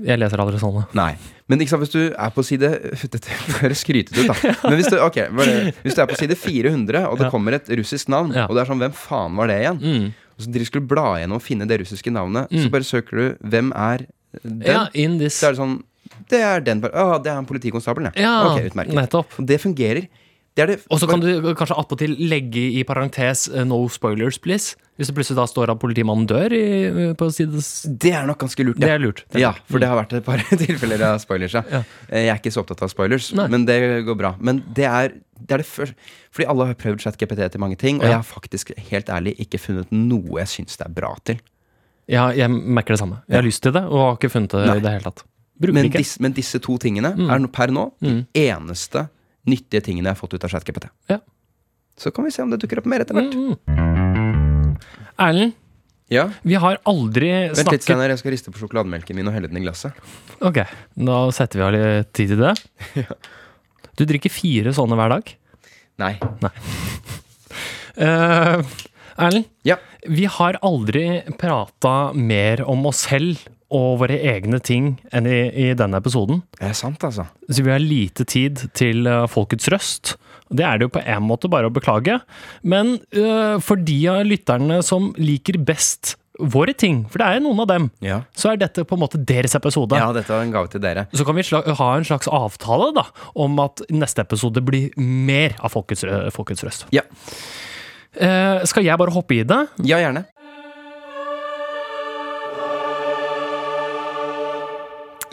Speaker 3: Jeg leser aldri sånne.
Speaker 2: Nei. Men ikke sant, hvis du er på side Dette høres skrytete ut, da. Men hvis du, ok, bare, hvis du er på side 400, og det
Speaker 3: Ja.
Speaker 2: kommer et russisk navn,
Speaker 3: Ja.
Speaker 2: og det er sånn Hvem faen var det igjen?
Speaker 3: Mm.
Speaker 2: Og så driver- skulle du bla gjennom og finne det russiske navnet, så
Speaker 3: Mm.
Speaker 2: bare søker du Hvem er den?
Speaker 3: Ja, in this
Speaker 2: Så er det sånn Det er den per- Å, det er en politikonstabel, ja.
Speaker 3: Ja,
Speaker 2: Ok, utmerket.
Speaker 3: nettopp.
Speaker 2: Og det fungerer. Det er det
Speaker 3: Og så kan du kanskje attpåtil legge i parentes eh, 'no spoilers, please'. Hvis det plutselig da står at politimannen dør i, eh, på sides...
Speaker 2: Det er nok ganske lurt,
Speaker 3: Det er lurt. Det er
Speaker 2: Ja,
Speaker 3: lurt.
Speaker 2: for det har vært et par tilfeller av spoilers. Ja.
Speaker 3: Ja.
Speaker 2: Eh, Jeg er ikke så opptatt av spoilers,
Speaker 3: Nei.
Speaker 2: men det går bra. Men det er det, er det før, Fordi alle har prøvd ChatGPT til mange ting, og
Speaker 3: Ja.
Speaker 2: jeg har faktisk helt ærlig ikke funnet noe jeg syns det er bra til.
Speaker 3: Ja, jeg merker det samme. Jeg har lyst til det, og har ikke funnet det
Speaker 2: Nei.
Speaker 3: i det hele tatt. Bruker
Speaker 2: Men,
Speaker 3: det ikke. Mm.
Speaker 2: dis, men disse to tingene er no- per nå de eneste nyttige tingene jeg har fått ut av ChatGPT.
Speaker 3: Ja. Mm.
Speaker 2: Så kan vi se om det dukker opp mer etter hvert.
Speaker 3: Erlend,
Speaker 2: Ja.
Speaker 3: vi har aldri
Speaker 2: Vent litt,
Speaker 3: snakket
Speaker 2: Steinar. Jeg skal riste på sjokolademelken min og helle den i glasset.
Speaker 3: Ok, da setter vi av litt tid til det. Du drikker fire sånne hver dag.
Speaker 2: Nei.
Speaker 3: Eh, Erlend,
Speaker 2: Ja.
Speaker 3: vi har aldri prata mer om oss selv og våre egne ting enn i, i denne episoden.
Speaker 2: Det er sant, altså.
Speaker 3: Så vi har lite tid til eh, folkets røst. Og Det er det jo på en måte bare å beklage. Men eh, for de av lytterne som liker best våre ting, for det er jo noen av dem,
Speaker 2: Ja.
Speaker 3: så er dette på en måte deres episode.
Speaker 2: ja, dette var en gave til dere.
Speaker 3: Så kan vi sla ha en slags avtale da, om at neste episode blir mer av Folkets, rø- folkets røst.
Speaker 2: Ja,
Speaker 3: Eh, skal jeg bare hoppe i det?
Speaker 2: ja gjerne.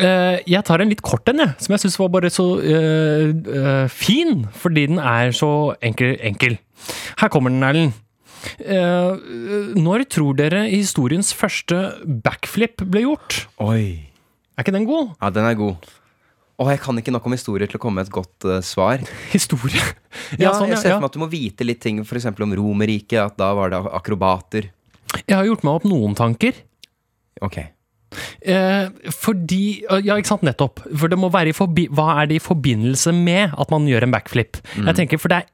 Speaker 3: Eh, jeg tar en litt kort en, jeg, som jeg syns var bare så eh, eh, fin, fordi den er så enkel. enkel. Her kommer den, Erlend. Eh, når tror dere historiens første backflip ble gjort?
Speaker 2: Oi.
Speaker 3: Er ikke den god?
Speaker 2: Ja, den er god. Og jeg kan ikke nok om historier til å komme med et godt eh, svar.
Speaker 3: Historie?
Speaker 2: Ja,
Speaker 3: sånn,
Speaker 2: jeg ser for meg at du må vite litt ting f.eks. om Romerriket, at da var det akrobater.
Speaker 3: jeg har gjort meg opp noen tanker.
Speaker 2: Ok.
Speaker 3: Eh, fordi eh, Ja, ikke sant, nettopp. For det må være i forbi Hva er det i forbindelse med at man gjør en backflip?
Speaker 2: Mm.
Speaker 3: Jeg tenker, for det er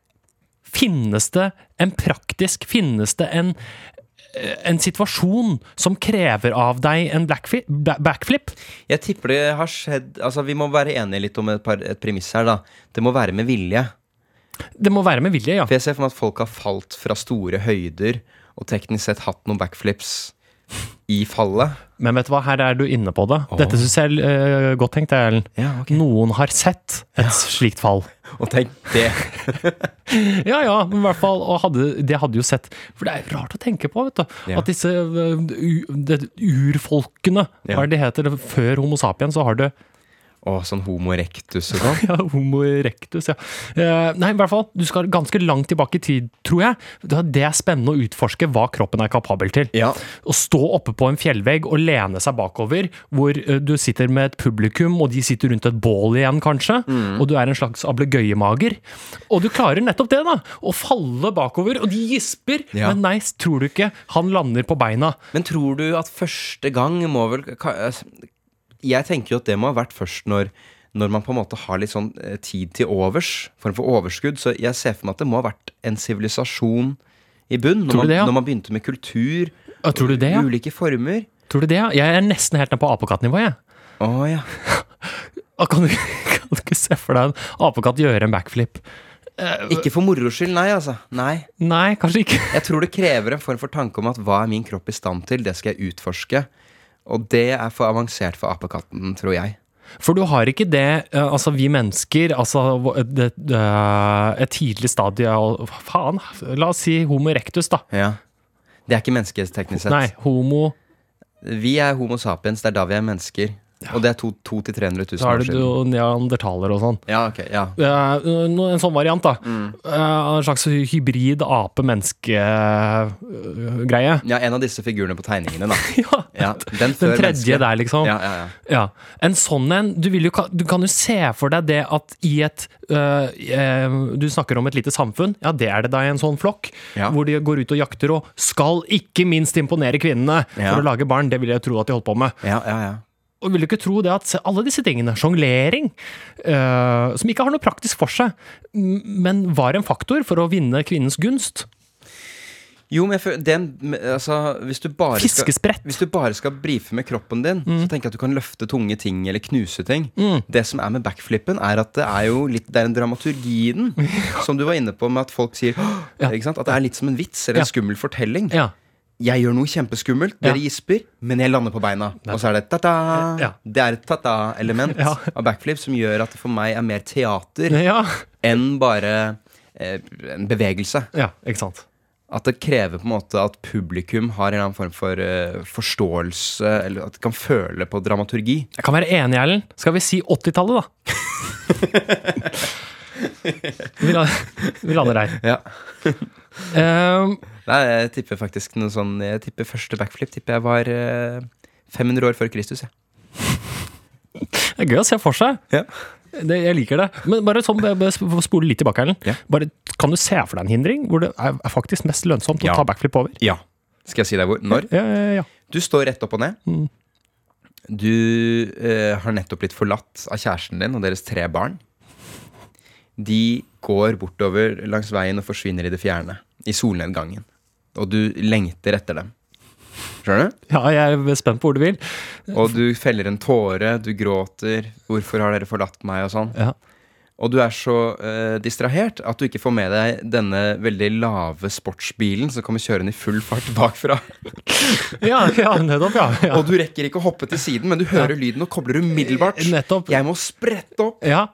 Speaker 3: Finnes det en praktisk Finnes det en eh, en situasjon som krever av deg en blackfi- ba- backflip?
Speaker 2: Jeg tipper det har skjedd Altså, vi må være enige litt om et, par, et premiss her, da. Det må være med vilje.
Speaker 3: Det må være med vilje, ja.
Speaker 2: For jeg ser for meg at folk har falt fra store høyder og teknisk sett hatt noen backflips i fallet.
Speaker 3: Men vet du hva, her er du inne på det. Dette syns jeg er eh, godt tenkt, Ellen.
Speaker 2: Ja, ok.
Speaker 3: Noen har sett et slikt fall.
Speaker 2: Og tenk det.
Speaker 3: Ja, ja, men i hvert fall, og hadde, det hadde jo sett For det er rart å tenke på, vet du.
Speaker 2: Ja.
Speaker 3: At disse øh, u, det, urfolkene,
Speaker 2: Ja.
Speaker 3: hva er det de heter? Før Homo sapien så har det
Speaker 2: Å, sånn homo erectus og sånn.
Speaker 3: ja, Homo erectus, ja. Eh, nei, i hvert fall, du skal ganske langt tilbake i tid, tror jeg. Det det er spennende å utforske hva kroppen er kapabel til.
Speaker 2: Ja.
Speaker 3: Å stå oppe på en fjellvegg og lene seg bakover, hvor eh, du sitter med et publikum, og de sitter rundt et bål igjen, kanskje, og du er en slags ablegøyemager. Og du klarer nettopp det, da! Å falle bakover, og de gisper!
Speaker 2: Ja.
Speaker 3: Men nei, tror du ikke han lander på beina?
Speaker 2: Men tror du at første gang må vel ka- altså, Jeg tenker jo at det må ha vært først når når man på en måte har litt sånn eh, tid til overs, form for overskudd. Så jeg ser for meg at det må ha vært en sivilisasjon i bunn. Når,
Speaker 3: Tror du
Speaker 2: man-
Speaker 3: det, ja?
Speaker 2: når man begynte med kultur,
Speaker 3: Ja, Tror du det, ja?
Speaker 2: ulike former.
Speaker 3: Tror du det, ja? Jeg er nesten helt nede på apekattnivå, jeg.
Speaker 2: Å ja.
Speaker 3: Ah, Kan du, kan du ikke se for deg en apekatt gjøre en backflip?
Speaker 2: Ikke for moro skyld, nei, altså. Nei.
Speaker 3: Nei, kanskje ikke.
Speaker 2: Jeg tror det krever en form for tanke om at hva er min kropp i stand til, det skal jeg utforske. Og det er for avansert for apekatten, tror jeg.
Speaker 3: For du har ikke det eh, Altså, vi mennesker Altså, hva- det, eh, et tidlig stadie av hva Faen, la oss si homo erectus, da.
Speaker 2: Ja. Det er ikke mennesketeknisk sett.
Speaker 3: Nei, homo
Speaker 2: Vi er Homo sapiens, det er da vi er mennesker. Og det er 200-300 000
Speaker 3: Da er
Speaker 2: år
Speaker 3: det
Speaker 2: siden.
Speaker 3: jo neandertaler og sånn.
Speaker 2: Ja, ok, ja.
Speaker 3: Eh, no- en sånn variant, da.
Speaker 2: Mm.
Speaker 3: Eh, en slags hybrid eh, ape-menneske-greie.
Speaker 2: ja, en av disse figurene på tegningene, da.
Speaker 3: ja.
Speaker 2: Ja, den før
Speaker 3: Den tredje
Speaker 2: mennesket.
Speaker 3: der, liksom.
Speaker 2: Ja, ja, ja.
Speaker 3: Ja, en sånn en du, vil jo, ka- du kan jo se for deg det at i et øh, eh, Du snakker om et lite samfunn. Ja, det er det da i en sånn flokk.
Speaker 2: Ja.
Speaker 3: Hvor de går ut og jakter og skal ikke minst imponere kvinnene
Speaker 2: Ja.
Speaker 3: for å lage barn. Det vil jeg tro at de holdt på med.
Speaker 2: Ja, ja, ja.
Speaker 3: Og vil du ikke tro det at se, alle disse tingene, sjonglering, øh, som ikke har noe praktisk for seg, m- men var en faktor for å vinne kvinnens gunst.
Speaker 2: Jo, men jeg føler den, altså, hvis, du bare skal,
Speaker 3: Fiskesprett. Mm.
Speaker 2: hvis du bare skal brife med kroppen din, så tenker jeg at du kan løfte tunge ting eller knuse ting. Det som er med backflippen, er at det er jo litt Det er en dramaturgi i den, som du var inne på, med at folk sier «Åh!»
Speaker 3: Ja.
Speaker 2: ikke sant? At det er litt som en vits eller
Speaker 3: Ja.
Speaker 2: en skummel fortelling.
Speaker 3: Ja.
Speaker 2: Jeg gjør noe kjempeskummelt, dere gisper, men jeg lander på beina. Og så er det ta-ta.
Speaker 3: Ja.
Speaker 2: Det er et ta-ta-element
Speaker 3: Ja.
Speaker 2: av backflip som gjør at det for meg er mer teater
Speaker 3: ja.
Speaker 2: enn bare eh, en bevegelse.
Speaker 3: Ja, ikke sant.
Speaker 2: At det krever på en måte at publikum har en eller annen form for eh, forståelse, eller at de kan føle på dramaturgi.
Speaker 3: Jeg kan være enig, Erlend. Skal vi si 80-tallet, da? vi, la, vi lander der.
Speaker 2: Ja.
Speaker 3: Ehm,
Speaker 2: Nei, jeg tipper faktisk noe sånn Jeg tipper første backflip tipper jeg var eh, 500 år før Kristus. jeg.
Speaker 3: det er gøy å se for seg.
Speaker 2: Ja.
Speaker 3: Det, jeg liker det. Men bare sånn, bare- bare sp- spole litt tilbake, Erlend.
Speaker 2: Ja.
Speaker 3: Bare, Kan du se for deg en hindring hvor det er er faktisk mest lønnsomt
Speaker 2: Ja.
Speaker 3: å ta backflip over?
Speaker 2: Skal jeg si deg hvor? Når?
Speaker 3: Ja, ja, ja.
Speaker 2: Du står rett opp og ned. Du eh, har nettopp blitt forlatt av kjæresten din og deres tre barn. De går bortover langs veien og forsvinner i det fjerne. I solnedgangen. Og du lengter etter dem. Skjønner du?
Speaker 3: ja, jeg er spent på hvor du vil.
Speaker 2: Og du feller en tåre, du gråter 'Hvorfor har dere forlatt meg?' og sånn.
Speaker 3: Ja.
Speaker 2: Og du er så eh, distrahert at du ikke får med deg denne veldig lave sportsbilen som kommer kjørende i full fart bakfra.
Speaker 3: Ja, ja, nettopp, ja. ja.
Speaker 2: Og du rekker ikke å hoppe til siden, men du hører lyden og kobler umiddelbart.
Speaker 3: Eh, Nettopp.
Speaker 2: Jeg må sprette opp!
Speaker 3: ja.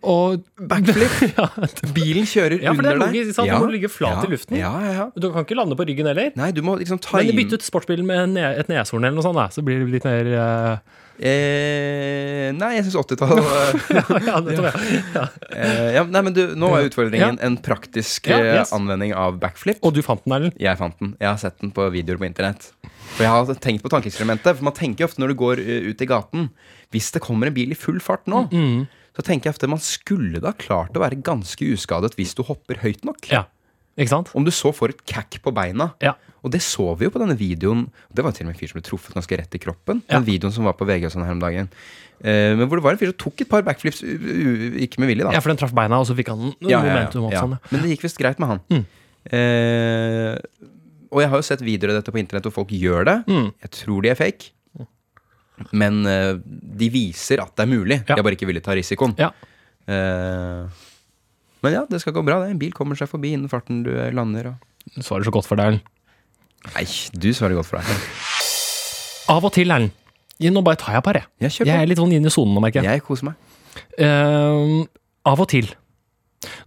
Speaker 3: Og
Speaker 2: Backflip.
Speaker 3: ja,
Speaker 2: Bilen kjører
Speaker 3: Ja, for det er
Speaker 2: under deg.
Speaker 3: logisk, sant? Du må ligge flat
Speaker 2: ja.
Speaker 3: i luften.
Speaker 2: Ja, ja, ja.
Speaker 3: Du kan ikke lande på ryggen heller.
Speaker 2: Nei, du må liksom
Speaker 3: Men
Speaker 2: time
Speaker 3: bytt ut sportsbilen med ne et neshorn eller noe sånt, da. så blir det litt mer eh,
Speaker 2: eh, Nei, jeg syns 80-tallet
Speaker 3: ja, ja, det tror jeg.
Speaker 2: eh, ja, Nei, men du, nå er utfordringen en praktisk
Speaker 3: Ja,
Speaker 2: eh,
Speaker 3: yes.
Speaker 2: anvending av backflip.
Speaker 3: Og du fant den, Erlend?
Speaker 2: Jeg fant den. Jeg har sett den på videoer på internett. For jeg har tenkt på tankeeksperimentet. For man tenker jo ofte når du går eh, ut i gaten Hvis det kommer en bil i full fart nå,
Speaker 3: Mm.
Speaker 2: så tenker jeg ofte man skulle da klart å være ganske uskadet hvis du hopper høyt nok.
Speaker 3: Ja. Ikke sant?
Speaker 2: Om du så får et kakk på beina.
Speaker 3: Ja.
Speaker 2: Og det så vi jo på denne videoen. Det var jo til og med en fyr som ble truffet ganske rett i kroppen.
Speaker 3: Ja.
Speaker 2: Den videoen som var på VG og sånn her om dagen. Eh, men hvor det var en fyr som tok et par backflips, u- u- ikke med vilje, da.
Speaker 3: ja, for den traff beina, og så fikk han ja, momentum. Ja, ja. Sånn, ja.
Speaker 2: Men det gikk visst greit med han.
Speaker 3: Mm.
Speaker 2: Eh, og jeg har jo sett videoer av dette på internett hvor folk gjør det.
Speaker 3: Mm.
Speaker 2: Jeg tror de er fake. Men eh, de viser at det er mulig.
Speaker 3: Ja.
Speaker 2: De er bare ikke villige til å ta risikoen.
Speaker 3: Ja.
Speaker 2: Eh, men ja, det skal gå bra. det En bil kommer seg forbi innen farten du eh, lander. Og
Speaker 3: Du svarer så godt for deg, Erlend.
Speaker 2: Nei, du svarer godt for deg.
Speaker 3: Av og til, Erlend. Nå bare tar jeg et par, jeg.
Speaker 2: Ja, kjør på.
Speaker 3: Jeg er litt sånn inn i sonen nå, merker jeg.
Speaker 2: Jeg koser meg.
Speaker 3: Eh, av og til.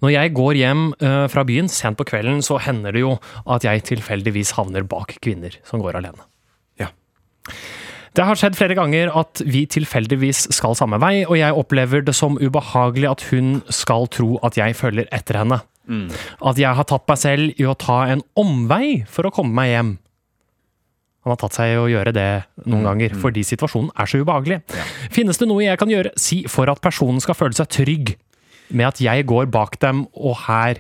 Speaker 3: Når jeg går hjem eh, fra byen sent på kvelden, så hender det jo at jeg tilfeldigvis havner bak kvinner som går alene.
Speaker 2: Ja.
Speaker 3: Det har skjedd flere ganger at vi tilfeldigvis skal samme vei, og jeg opplever det som ubehagelig at hun skal tro at jeg følger etter henne. At jeg har tatt meg selv i å ta en omvei for å komme meg hjem. Han har tatt seg i å gjøre det noen
Speaker 2: Mm,
Speaker 3: ganger, fordi situasjonen er så ubehagelig. Finnes det noe jeg kan gjøre, si, for at personen skal føle seg trygg med at jeg går bak dem, og her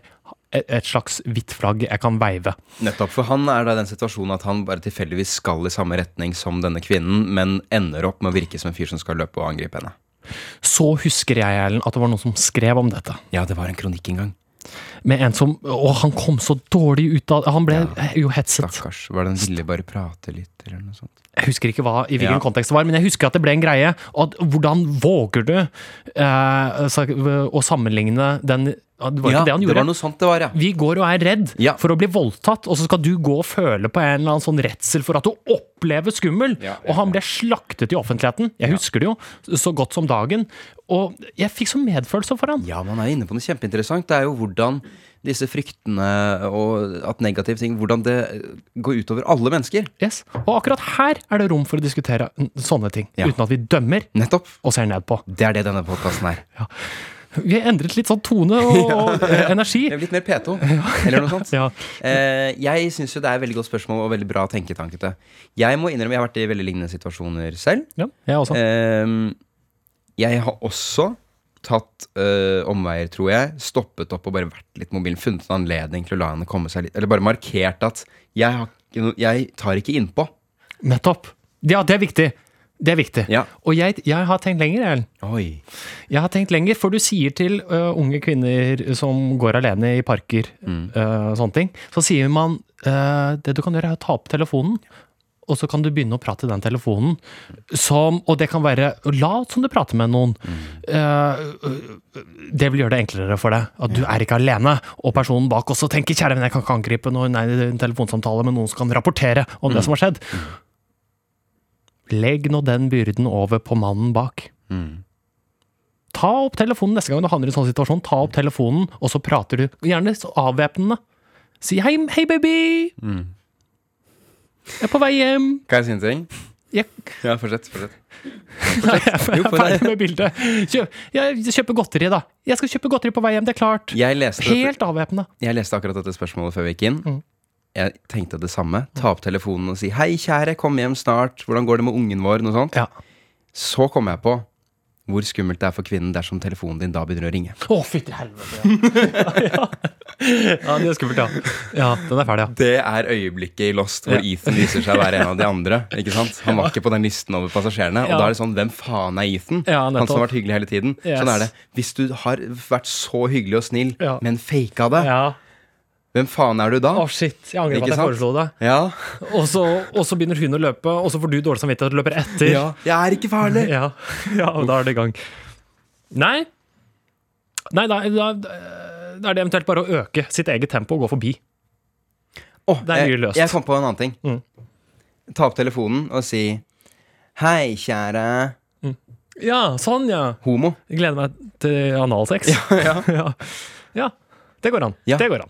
Speaker 3: et et slags hvitt flagg jeg kan veive?
Speaker 2: Nettopp, for Han er da i den situasjonen at han bare tilfeldigvis skal i samme retning som denne kvinnen, men ender opp med å virke som en fyr som skal løpe og angripe henne.
Speaker 3: Så husker jeg, Erlend, at det var noen som skrev om dette.
Speaker 2: Ja, det var en kronikk en gang.
Speaker 3: Med en som Og han kom så dårlig ut av Han ble jo hetset.
Speaker 2: Stakkars. Var det den ville bare prate litt, eller noe sånt?
Speaker 3: Jeg husker ikke hva, i hvilken
Speaker 2: Ja.
Speaker 3: kontekst det var, men jeg husker at det ble en greie. Og at, hvordan våger du eh, sa- å sammenligne den Det var
Speaker 2: ja,
Speaker 3: ikke det han
Speaker 2: det
Speaker 3: gjorde.
Speaker 2: var noe sånt det var, ja.
Speaker 3: Vi går og er redd
Speaker 2: Ja.
Speaker 3: for å bli voldtatt, og så skal du gå og føle på en eller annen sånn redsel for at du opplever skummel.
Speaker 2: Ja, ja,
Speaker 3: Og han ble slaktet i offentligheten. Jeg husker det jo så godt som dagen. Og jeg fikk så medfølelse for han.
Speaker 2: Ja, man er inne på noe kjempeinteressant. Det er jo hvordan disse fryktene og at negative ting Hvordan det går utover alle mennesker.
Speaker 3: Yes. Og akkurat her er det rom for å diskutere mm, sånne ting,
Speaker 2: Ja.
Speaker 3: uten at vi dømmer
Speaker 2: Nettopp.
Speaker 3: og ser ned på.
Speaker 2: Det er det denne podkasten er.
Speaker 3: Vi har endret litt sånn tone og, og eh, energi.
Speaker 2: Det er blitt mer P2, eller noe sånt.
Speaker 3: Ja.
Speaker 2: Eh, jeg syns jo det er et veldig godt spørsmål og veldig bra tenketankete. Jeg må innrømme jeg har vært i veldig lignende situasjoner selv.
Speaker 3: Ja, jeg også.
Speaker 2: Eh, jeg har også tatt eh, omveier, tror jeg. Stoppet opp og bare vært litt mobil. Funnet en anledning til å la henne komme seg litt. Eller bare markert at jeg, har, ikke noe- jeg tar ikke innpå.
Speaker 3: Nettopp. Ja, det er viktig. Det er viktig.
Speaker 2: Ja.
Speaker 3: Og jeg, jeg har tenkt lenger, Ellen.
Speaker 2: Oi.
Speaker 3: Jeg har tenkt lenger, for du sier til ø, unge kvinner som går alene i parker, ø, sånne ting, så sier man ø, det du kan gjøre er å ta opp telefonen, og så kan du begynne å prate i den telefonen. Som, og det kan være lat som du prater med noen. Ø, ø, ø, det vil gjøre det enklere for deg. At du er ikke alene. Og personen bak også tenker 'kjære venn, jeg kan ikke angripe noen nei, det er en telefonsamtale med noen som kan rapportere om det som har skjedd'. Legg nå den byrden over på mannen bak. Ta opp telefonen neste gang du havner i en sånn situasjon. Ta opp telefonen, og så prater du. Gjerne så avvæpnende. Si hei, hei baby! Jeg er på vei hjem.
Speaker 2: Kan jeg si en ting?
Speaker 3: Jeg,
Speaker 2: Ja, fortsett. fortsett.
Speaker 3: nei, jeg er
Speaker 2: Jo, for
Speaker 3: ferdig
Speaker 2: det-
Speaker 3: med bildet. Kjøp, jeg kjøper godteri, da. Jeg skal kjøpe godteri på vei hjem, det er klart.
Speaker 2: Jeg leste, dette,
Speaker 3: Helt avvæpnende.
Speaker 2: jeg leste akkurat dette spørsmålet før vi gikk inn.
Speaker 3: Mm.
Speaker 2: Jeg tenkte det samme. Ta opp telefonen og si 'Hei, kjære, kom hjem snart. Hvordan går det med ungen vår?' Noe sånt.
Speaker 3: Ja.
Speaker 2: Så kom jeg på hvor skummelt det er for kvinnen dersom telefonen din da begynner å ringe.
Speaker 3: Å, fytti helvete. Ja. ja. ja, det er skummelt, ja. Ja, Den er ferdig, ja.
Speaker 2: Det er øyeblikket i Lost hvor
Speaker 3: Ja.
Speaker 2: Ethan viser seg å være en av de andre. Ikke sant? Han var ikke på den listen over passasjerene.
Speaker 3: Ja.
Speaker 2: Og da er det sånn Hvem faen er Ethan? han som
Speaker 3: Ja,
Speaker 2: har
Speaker 3: nettopp.
Speaker 2: vært hyggelig hele tiden.
Speaker 3: Yes.
Speaker 2: Sånn er det. Hvis du har vært så hyggelig og snill,
Speaker 3: Ja.
Speaker 2: men faka det,
Speaker 3: Ja.
Speaker 2: hvem faen er du da?
Speaker 3: Å, shit. Jeg angrer på
Speaker 2: Ikke
Speaker 3: at jeg
Speaker 2: sant?
Speaker 3: foreslo det.
Speaker 2: Ja.
Speaker 3: Og så, og så begynner hun å løpe, og så får du dårlig samvittighet og løper etter.
Speaker 2: ja. Jeg er ikke farlig!
Speaker 3: Ja, ja og da er det i gang. Nei. Nei, da, da, da er det eventuelt bare å øke sitt eget tempo og gå forbi.
Speaker 2: Åh,
Speaker 3: Det er mye
Speaker 2: jeg-
Speaker 3: løst.
Speaker 2: Jeg kom på en annen ting.
Speaker 3: Mm.
Speaker 2: Ta opp telefonen og si 'Hei, kjære
Speaker 3: Ja, sånn, ja.
Speaker 2: homo'.
Speaker 3: Jeg gleder meg til analsex.
Speaker 2: ja.
Speaker 3: ja. Ja, Det går an.
Speaker 2: Ja.
Speaker 3: Det går an.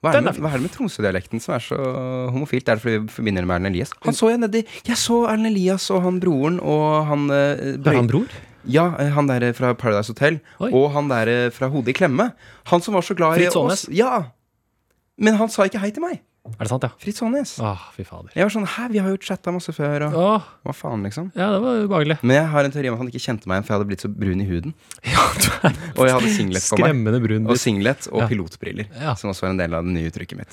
Speaker 2: Hva er, det
Speaker 3: Den er
Speaker 2: med, hva er det med Tromsø-dialekten som er så homofilt? Er det fordi vi forbinder det med Erlend Elias? Han så jeg nedi Jeg så Erlend Elias og han broren og han eh,
Speaker 3: Er
Speaker 2: Brøy-
Speaker 3: han bror?
Speaker 2: Ja, eh, han der fra Paradise Hotel.
Speaker 3: Oi.
Speaker 2: Og han der eh, fra Hodet i klemme. Han som var så glad i
Speaker 3: Fritz Aanes.
Speaker 2: oss. Ja. Men han sa ikke hei til meg.
Speaker 3: Er det sant, ja?
Speaker 2: Fritz Aanes.
Speaker 3: Åh, fy fader.
Speaker 2: Jeg var sånn Hæ, vi har jo chatta masse før, og
Speaker 3: Åh,
Speaker 2: hva faen, liksom?
Speaker 3: ja, det var ubehagelig.
Speaker 2: Men jeg har en teori om at han ikke kjente meg igjen, for jeg hadde blitt så brun i huden.
Speaker 3: Ja, du er
Speaker 2: Og jeg hadde singlet på meg.
Speaker 3: Skremmende brun.
Speaker 2: Og singlet og
Speaker 3: Ja.
Speaker 2: pilotbriller,
Speaker 3: Ja.
Speaker 2: som også var en del av det nye uttrykket mitt.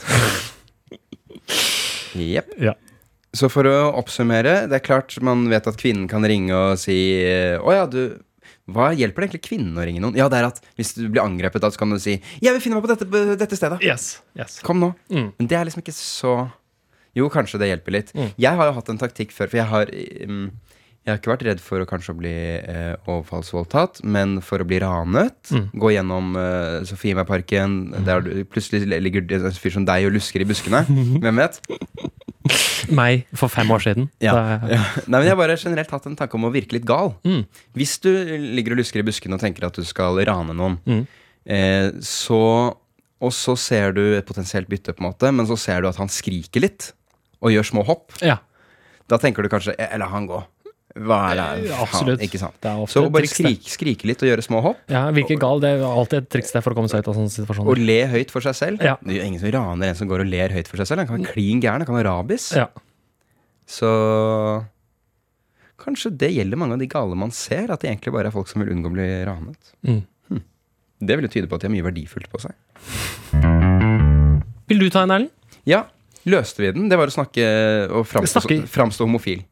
Speaker 2: Jepp.
Speaker 3: Ja.
Speaker 2: Så for å oppsummere, det er klart man vet at kvinnen kan ringe og si eh, Å ja, du Hva hjelper det egentlig kvinnen å ringe noen? Ja, det er at hvis du blir angrepet, da så kan du si Jeg vil finne meg på dette, på dette stedet.
Speaker 3: Yes. yes.
Speaker 2: Kom nå.
Speaker 3: Mm.
Speaker 2: Men det er liksom ikke så Jo, kanskje det hjelper litt.
Speaker 3: Mm.
Speaker 2: Jeg har jo hatt en taktikk før, for jeg har mm, jeg har ikke vært redd for å kanskje å bli eh, overfallsvoldtatt, men for å bli ranet.
Speaker 3: Mm.
Speaker 2: Gå gjennom eh, Sofiemarken, der du, plutselig ligger det en fyr som deg og lusker i buskene. Hvem vet?
Speaker 3: Meg for fem år siden.
Speaker 2: Ja.
Speaker 3: Det-
Speaker 2: Nei, men Jeg har bare generelt hatt en tanke om å virke litt gal.
Speaker 3: Mm.
Speaker 2: Hvis du ligger og lusker i buskene og tenker at du skal rane noen,
Speaker 3: Mm.
Speaker 2: eh, så, og så ser du et potensielt bytte, på en måte, men så ser du at han skriker litt og gjør små hopp,
Speaker 3: ja.
Speaker 2: da tenker du kanskje eh, La han gå. Hva er det?
Speaker 3: Ja,
Speaker 2: Faen,
Speaker 3: Eh, absolutt.
Speaker 2: ikke sant?
Speaker 3: Det er ofte
Speaker 2: Så å
Speaker 3: et
Speaker 2: bare
Speaker 3: triks, det.
Speaker 2: skrike, skrike litt og gjøre små hopp,
Speaker 3: Ja, virker gal. Det er alltid et triks der for å komme seg ut av sånne
Speaker 2: og
Speaker 3: situasjoner.
Speaker 2: le høyt for seg selv
Speaker 3: Ja.
Speaker 2: Det er jo ingen som raner en som går og ler høyt for seg selv. Han kan være klin gæren, han kan være rabis.
Speaker 3: Ja.
Speaker 2: Så kanskje det gjelder mange av de gale man ser, at det egentlig bare er folk som vil unngå å bli ranet.
Speaker 3: Mm.
Speaker 2: Hm. Det vil jo tyde på at de har mye verdifullt på seg.
Speaker 3: Vil du ta en, Erlend?
Speaker 2: Ja, løste vi den? Det var å snakke og framstå,
Speaker 3: Snakke-
Speaker 2: framstå homofil.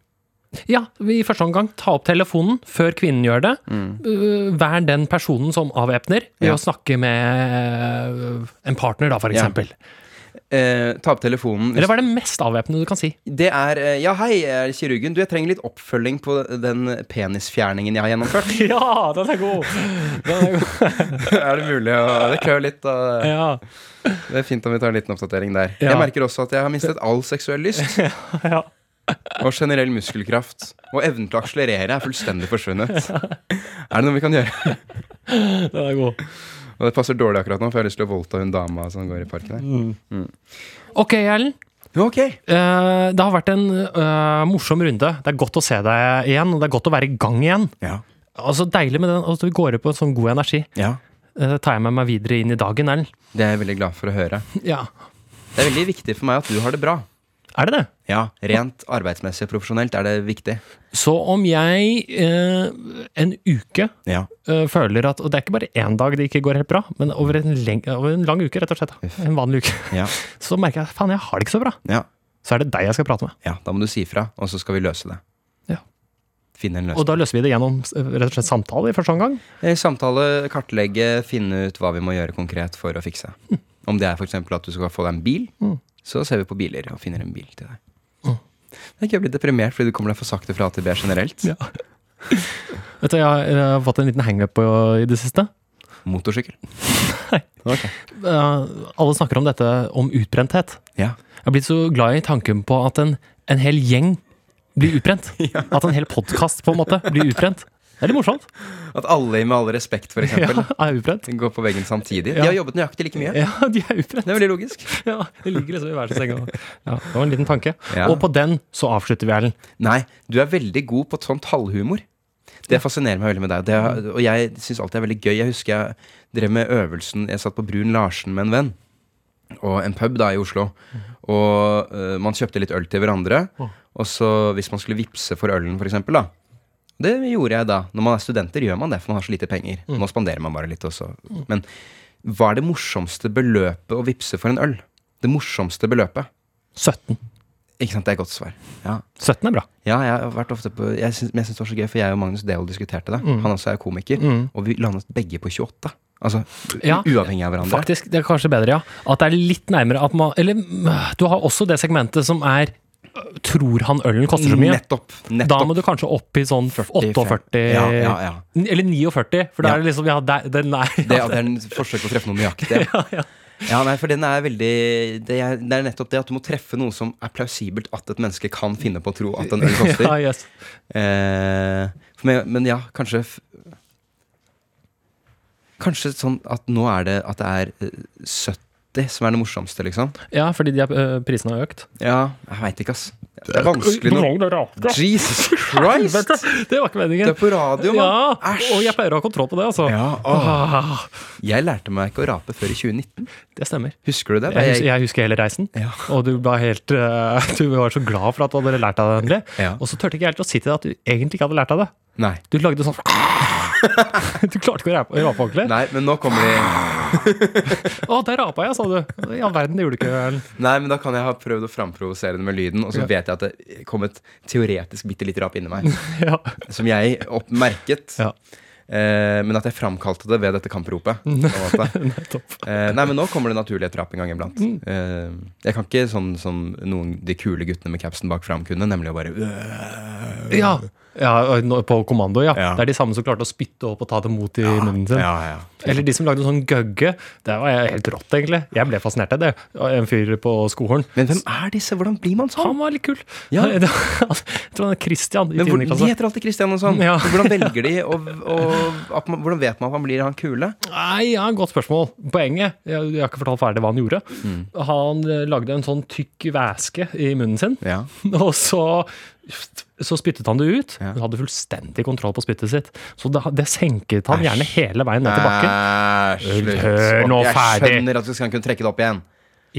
Speaker 3: Ja, i første omgang ta opp telefonen før kvinnen gjør det. Uh, Vær den personen som avvæpner ved
Speaker 2: Ja.
Speaker 3: å snakke med uh, en partner, da, for
Speaker 2: Ja.
Speaker 3: eksempel.
Speaker 2: Eh, ta opp telefonen.
Speaker 3: Eller hva er det mest avvæpnende du kan si?
Speaker 2: Det er eh, Ja, hei, jeg er kirurgen. Du, jeg trenger litt oppfølging på den penisfjerningen jeg har gjennomført.
Speaker 3: Ja, den er god!
Speaker 2: er det mulig å Det klør litt. og-
Speaker 3: ja.
Speaker 2: Det er fint om vi tar en liten oppdatering der.
Speaker 3: Ja.
Speaker 2: Jeg merker også at jeg har mistet all seksuell lyst.
Speaker 3: Ja.
Speaker 2: Og generell muskelkraft. Og evnen til å akselerere er fullstendig forsvunnet. Er det noe vi kan gjøre?
Speaker 3: Den er god.
Speaker 2: Og det passer dårlig akkurat nå, for jeg har lyst til å voldta hun dama som går i parken her.
Speaker 3: Ok, Erlend.
Speaker 2: Ok,
Speaker 3: Eh, det har vært en eh, morsom runde. Det er godt å se deg igjen, og det er godt å være i gang igjen.
Speaker 2: Ja.
Speaker 3: Altså, Deilig med den, at vi går ut på en sånn god energi.
Speaker 2: ja.
Speaker 3: Eh, tar jeg med meg videre inn i dagen, Erlend.
Speaker 2: Det er jeg veldig glad for å høre.
Speaker 3: Ja.
Speaker 2: Det er veldig viktig for meg at du har det bra.
Speaker 3: Er det det?
Speaker 2: Ja, Rent arbeidsmessig og profesjonelt er det viktig.
Speaker 3: Så om jeg eh, en uke
Speaker 2: Ja.
Speaker 3: eh, føler at Og det er ikke bare én dag det ikke går helt bra, men over en, leng over en lang uke, rett og slett. da.
Speaker 2: Uff.
Speaker 3: En vanlig uke.
Speaker 2: Ja.
Speaker 3: Så merker jeg faen, jeg har det ikke så bra.
Speaker 2: Ja.
Speaker 3: Så er det deg jeg skal prate med.
Speaker 2: ja. Da må du si fra, og så skal vi løse det.
Speaker 3: Ja.
Speaker 2: Finne en
Speaker 3: Og
Speaker 2: løsning.
Speaker 3: da løser vi det gjennom eh, rett og slett samtale i første omgang.
Speaker 2: Eh, Samtale, kartlegge, finne ut hva vi må gjøre konkret for å fikse. Om det er f.eks. at du skal få deg en bil,
Speaker 3: Mm.
Speaker 2: så ser vi på biler og finner en bil til deg.
Speaker 3: Mm.
Speaker 2: Det er ikke jeg blir deprimert fordi du kommer deg for sakte fra A til B generelt.
Speaker 3: Ja. Vet du, jeg har, jeg har fått en liten hangup på i det siste.
Speaker 2: Motorsykkel. Ok.
Speaker 3: Eh, alle snakker om dette om utbrenthet.
Speaker 2: Ja.
Speaker 3: Jeg har blitt så glad i tanken på at en, en hel gjeng blir utbrent. At en hel podkast på en måte blir utbrent. Det er litt morsomt.
Speaker 2: At alle med all respekt, f.eks.,
Speaker 3: Ja,
Speaker 2: eksempel
Speaker 3: er utbrent.
Speaker 2: går på veggen samtidig.
Speaker 3: Ja.
Speaker 2: De har jobbet nøyaktig like mye.
Speaker 3: Ja, de er utbrent.
Speaker 2: Det er veldig logisk.
Speaker 3: Ja, de ligger liksom i hver sin seng. og- Ja, det var en liten tanke.
Speaker 2: Ja.
Speaker 3: Og på den så avslutter vi, Erlend.
Speaker 2: Nei, du er veldig god på sånt halvhumor. Det fascinerer meg veldig med deg. Det, og jeg syns alltid det er veldig gøy. Jeg husker jeg drev med øvelsen Jeg satt på Brun Larsen med en venn. Og en pub da i Oslo. Og eh, man kjøpte litt øl til hverandre.
Speaker 3: Åh.
Speaker 2: Og så hvis man skulle vippse for ølen, for eksempel, da. Det gjorde jeg da. Når man er studenter, gjør man det, for man har så lite penger. Nå spanderer man bare litt også. Men hva er det morsomste beløpet å vippse for en øl? Det morsomste beløpet.
Speaker 3: 17.
Speaker 2: Ikke sant? Det er et godt svar. Ja.
Speaker 3: 17 er bra.
Speaker 2: Ja, jeg har vært ofte på jeg syns- Men jeg syns det var så gøy, for jeg og Magnus Devold diskuterte det.
Speaker 3: Mm.
Speaker 2: Han også er komiker. Og vi landet begge på 28. Altså u-
Speaker 3: Ja.
Speaker 2: uavhengig av hverandre.
Speaker 3: Faktisk, det er kanskje bedre, ja. At det er litt nærmere at man Eller mm, du har også det segmentet som er øh, Tror han ølen koster så mye?
Speaker 2: Nettopp. nettopp.
Speaker 3: Da må du kanskje opp i sånn 48
Speaker 2: Ja, ja, ja.
Speaker 3: N- Eller 49, for
Speaker 2: Ja.
Speaker 3: da er det liksom Ja, der, den er
Speaker 2: Det, ja, det er en forsøk på å treffe noe nøyaktig. ja, nei, for den er veldig det er, det er nettopp det at du må treffe noe som er plausibelt at et menneske kan finne på å tro at en øl koster.
Speaker 3: ja, yes.
Speaker 2: Eh, for meg, men ja, kanskje f- Kanskje sånn at nå er det at det er eh, 70 som er det morsomste, liksom.
Speaker 3: ja, fordi de er, øh, prisene har økt.
Speaker 2: Ja, jeg veit ikke, ass. Det er vanskelig nå. Jesus Christ!
Speaker 3: Det var ikke
Speaker 2: Du
Speaker 3: meningen.
Speaker 2: er på radio,
Speaker 3: Ja,
Speaker 2: mann. Æsj.
Speaker 3: og jeg pleier å ha kontroll på det, altså.
Speaker 2: Ja, åh.
Speaker 3: Ah,
Speaker 2: Jeg lærte meg ikke å rape før i 2019.
Speaker 3: det stemmer.
Speaker 2: Husker du det? Da
Speaker 3: Jeg husker, jeg husker hele reisen,
Speaker 2: Ja.
Speaker 3: og du var, helt, øh, du var så glad for at du hadde lært deg det endelig.
Speaker 2: Ja.
Speaker 3: Og så turte ikke jeg helt å si til deg at du egentlig ikke hadde lært deg det.
Speaker 2: Nei.
Speaker 3: Du lagde sånn Du klarte ikke å rape, rape ordentlig.
Speaker 2: Nei, men nå kommer de
Speaker 3: Å, der rapa jeg, sa du. I all verden, det gjorde du ikke. Erlend.
Speaker 2: Nei, men da kan jeg ha prøvd å framprovosere det med lyden, og så
Speaker 3: Ja.
Speaker 2: vet jeg at det kom et teoretisk bitte lite rap inni meg,
Speaker 3: Ja.
Speaker 2: som jeg oppmerket.
Speaker 3: Ja.
Speaker 2: Eh, men at jeg framkalte det ved dette kampropet. på en måte.
Speaker 3: Nettopp. Mm.
Speaker 2: Eh, nei, men nå kommer det naturlig et rap en gang iblant. Eh, jeg kan ikke sånn som noen de kule guttene med capsen bak fram kunne, nemlig å bare
Speaker 3: Ja, Ja, og nå- På kommando, ja.
Speaker 2: Ja.
Speaker 3: Det er de samme som klarte å spytte opp og ta det mot i munnen sin.
Speaker 2: Ja, ja.
Speaker 3: Eller de som lagde en sånn gøgge. Det var jeg helt rått, egentlig. Jeg ble fascinert av det. Og En fyr på skohorn.
Speaker 2: Men hvem er disse? Hvordan blir man sånn?
Speaker 3: Han var litt kul.
Speaker 2: Ja.
Speaker 3: Jeg tror han er Christian i
Speaker 2: Men hvor, de
Speaker 3: tiende klasse.
Speaker 2: heter alltid Christian og sånn.
Speaker 3: Ja.
Speaker 2: Hvordan velger de, og, og at man, hvordan vet man at man blir han kule?
Speaker 3: Nei, ja, godt spørsmål. Poenget jeg, jeg har ikke fortalt ferdig hva han gjorde.
Speaker 2: Mm.
Speaker 3: Han eh, lagde en sånn tykk væske i munnen sin,
Speaker 2: Ja.
Speaker 3: og så så spyttet han det ut.
Speaker 2: Ja.
Speaker 3: Han hadde fullstendig kontroll på spyttet sitt. Så det, det senket han gjerne hele veien ned til bakken.
Speaker 2: slutt.
Speaker 3: Hør nå
Speaker 2: jeg
Speaker 3: ferdig.
Speaker 2: skjønner at du skal kunne trekke det opp igjen.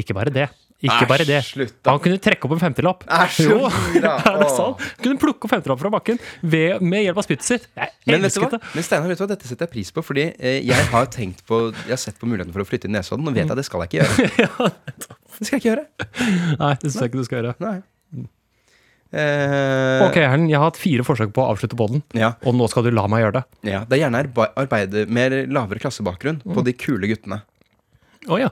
Speaker 3: Ikke bare det. Ikke
Speaker 2: Æsj,
Speaker 3: bare det.
Speaker 2: slutt da.
Speaker 3: Han kunne trekke opp en femtilapp.
Speaker 2: Æsj,
Speaker 3: Jo,
Speaker 2: slutt da.
Speaker 3: er det
Speaker 2: Åh.
Speaker 3: sant? Han kunne plukke opp femtilapp fra bakken ved, med hjelp av spyttet sitt. Jeg
Speaker 2: Men, vet du hva?
Speaker 3: elsket det.
Speaker 2: Men Steinar, vet du hva? dette setter jeg pris på, fordi eh, jeg har tenkt på Jeg har sett på muligheten for å flytte i Nesodden, og vet jeg
Speaker 3: Mm.
Speaker 2: at det skal jeg ikke gjøre. Det skal jeg ikke gjøre.
Speaker 3: Nei, det syns jeg ikke du skal gjøre.
Speaker 2: Nei. Eh,
Speaker 3: Mm. Ok, Herren, jeg har hatt fire forsøk på å avslutte podden,
Speaker 2: ja,
Speaker 3: og nå skal du la meg gjøre det.
Speaker 2: ja. Det er gjerne arbe- arbeide med lavere klassebakgrunn
Speaker 3: Mm.
Speaker 2: på de kule guttene.
Speaker 3: Å ja.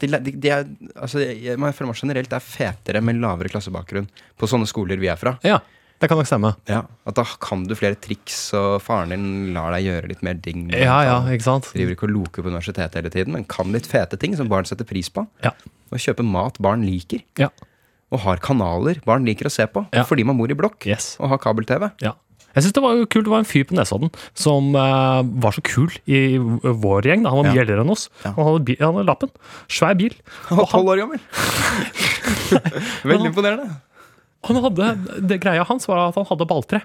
Speaker 2: De, de, de er, altså, jeg, jeg føler meg generelt er fetere med lavere klassebakgrunn på sånne skoler vi er fra.
Speaker 3: ja. Det kan nok stemme.
Speaker 2: Ja, At da kan du flere triks, og faren din lar deg gjøre litt mer ding.
Speaker 3: Ja, ja, ikke sant?
Speaker 2: Driver ikke og loker på universitetet hele tiden, men kan litt fete ting som barn setter pris på.
Speaker 3: Ja.
Speaker 2: Og kjøpe mat barn liker.
Speaker 3: ja.
Speaker 2: Og har kanaler barn liker å se på.
Speaker 3: Ja.
Speaker 2: Fordi man bor i blokk
Speaker 3: Yes.
Speaker 2: og har kabel-TV.
Speaker 3: Ja. Jeg synes Det var jo kult, det var en fyr på Nesodden som eh, var så kul i vår gjeng. Da. Han var mye
Speaker 2: Ja.
Speaker 3: eldre enn oss.
Speaker 2: Ja.
Speaker 3: Han, hadde bil, han hadde lappen. Svær bil.
Speaker 2: Han var tolv år gammel! Veldig imponerende.
Speaker 3: Han hadde, det Greia hans var at han hadde balltre.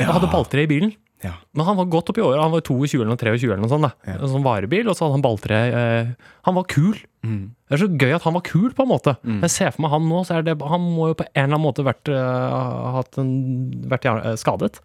Speaker 3: Han hadde balltre i bilen.
Speaker 2: Ja.
Speaker 3: Men han var godt oppi året. Han var 22 eller 23 eller noe sånt. Da. En sånn varebil, og så hadde han balltre. Eh, han var kul. Det er så gøy at han var kul, på en måte. Jeg ser for meg han nå, så er det, han må jo på en eller annen måte vært, eh, hatt en, vært hjerne- eh, skadet.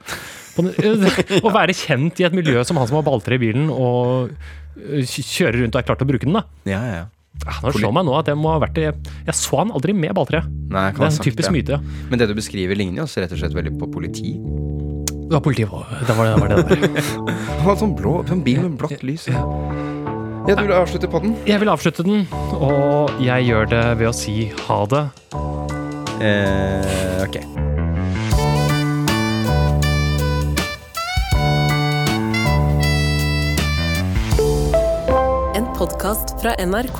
Speaker 3: På, den- eh, Å være kjent i et miljø som han som har balltre i bilen, og eh, kj- kjører rundt og er klar til å bruke den, da.
Speaker 2: ja, ja, ja.
Speaker 3: Ah, Nå slår meg nå at jeg må ha vært i Jeg så han aldri med balltre.
Speaker 2: Nei, jeg
Speaker 3: Det er
Speaker 2: kan ha
Speaker 3: en
Speaker 2: sagt
Speaker 3: typisk
Speaker 2: det.
Speaker 3: myte.
Speaker 2: Men det du beskriver, ligner jo også rett og slett veldig på politi.
Speaker 3: Det var politiet. Det var det, det, var det der.
Speaker 2: Han hadde sånn blå sånn bil med blått lys. Ja, du vil avslutte podden?
Speaker 3: Jeg vil avslutte den, og jeg gjør det ved å si ha det.
Speaker 2: Eh, ok.
Speaker 4: En podkast fra NRK.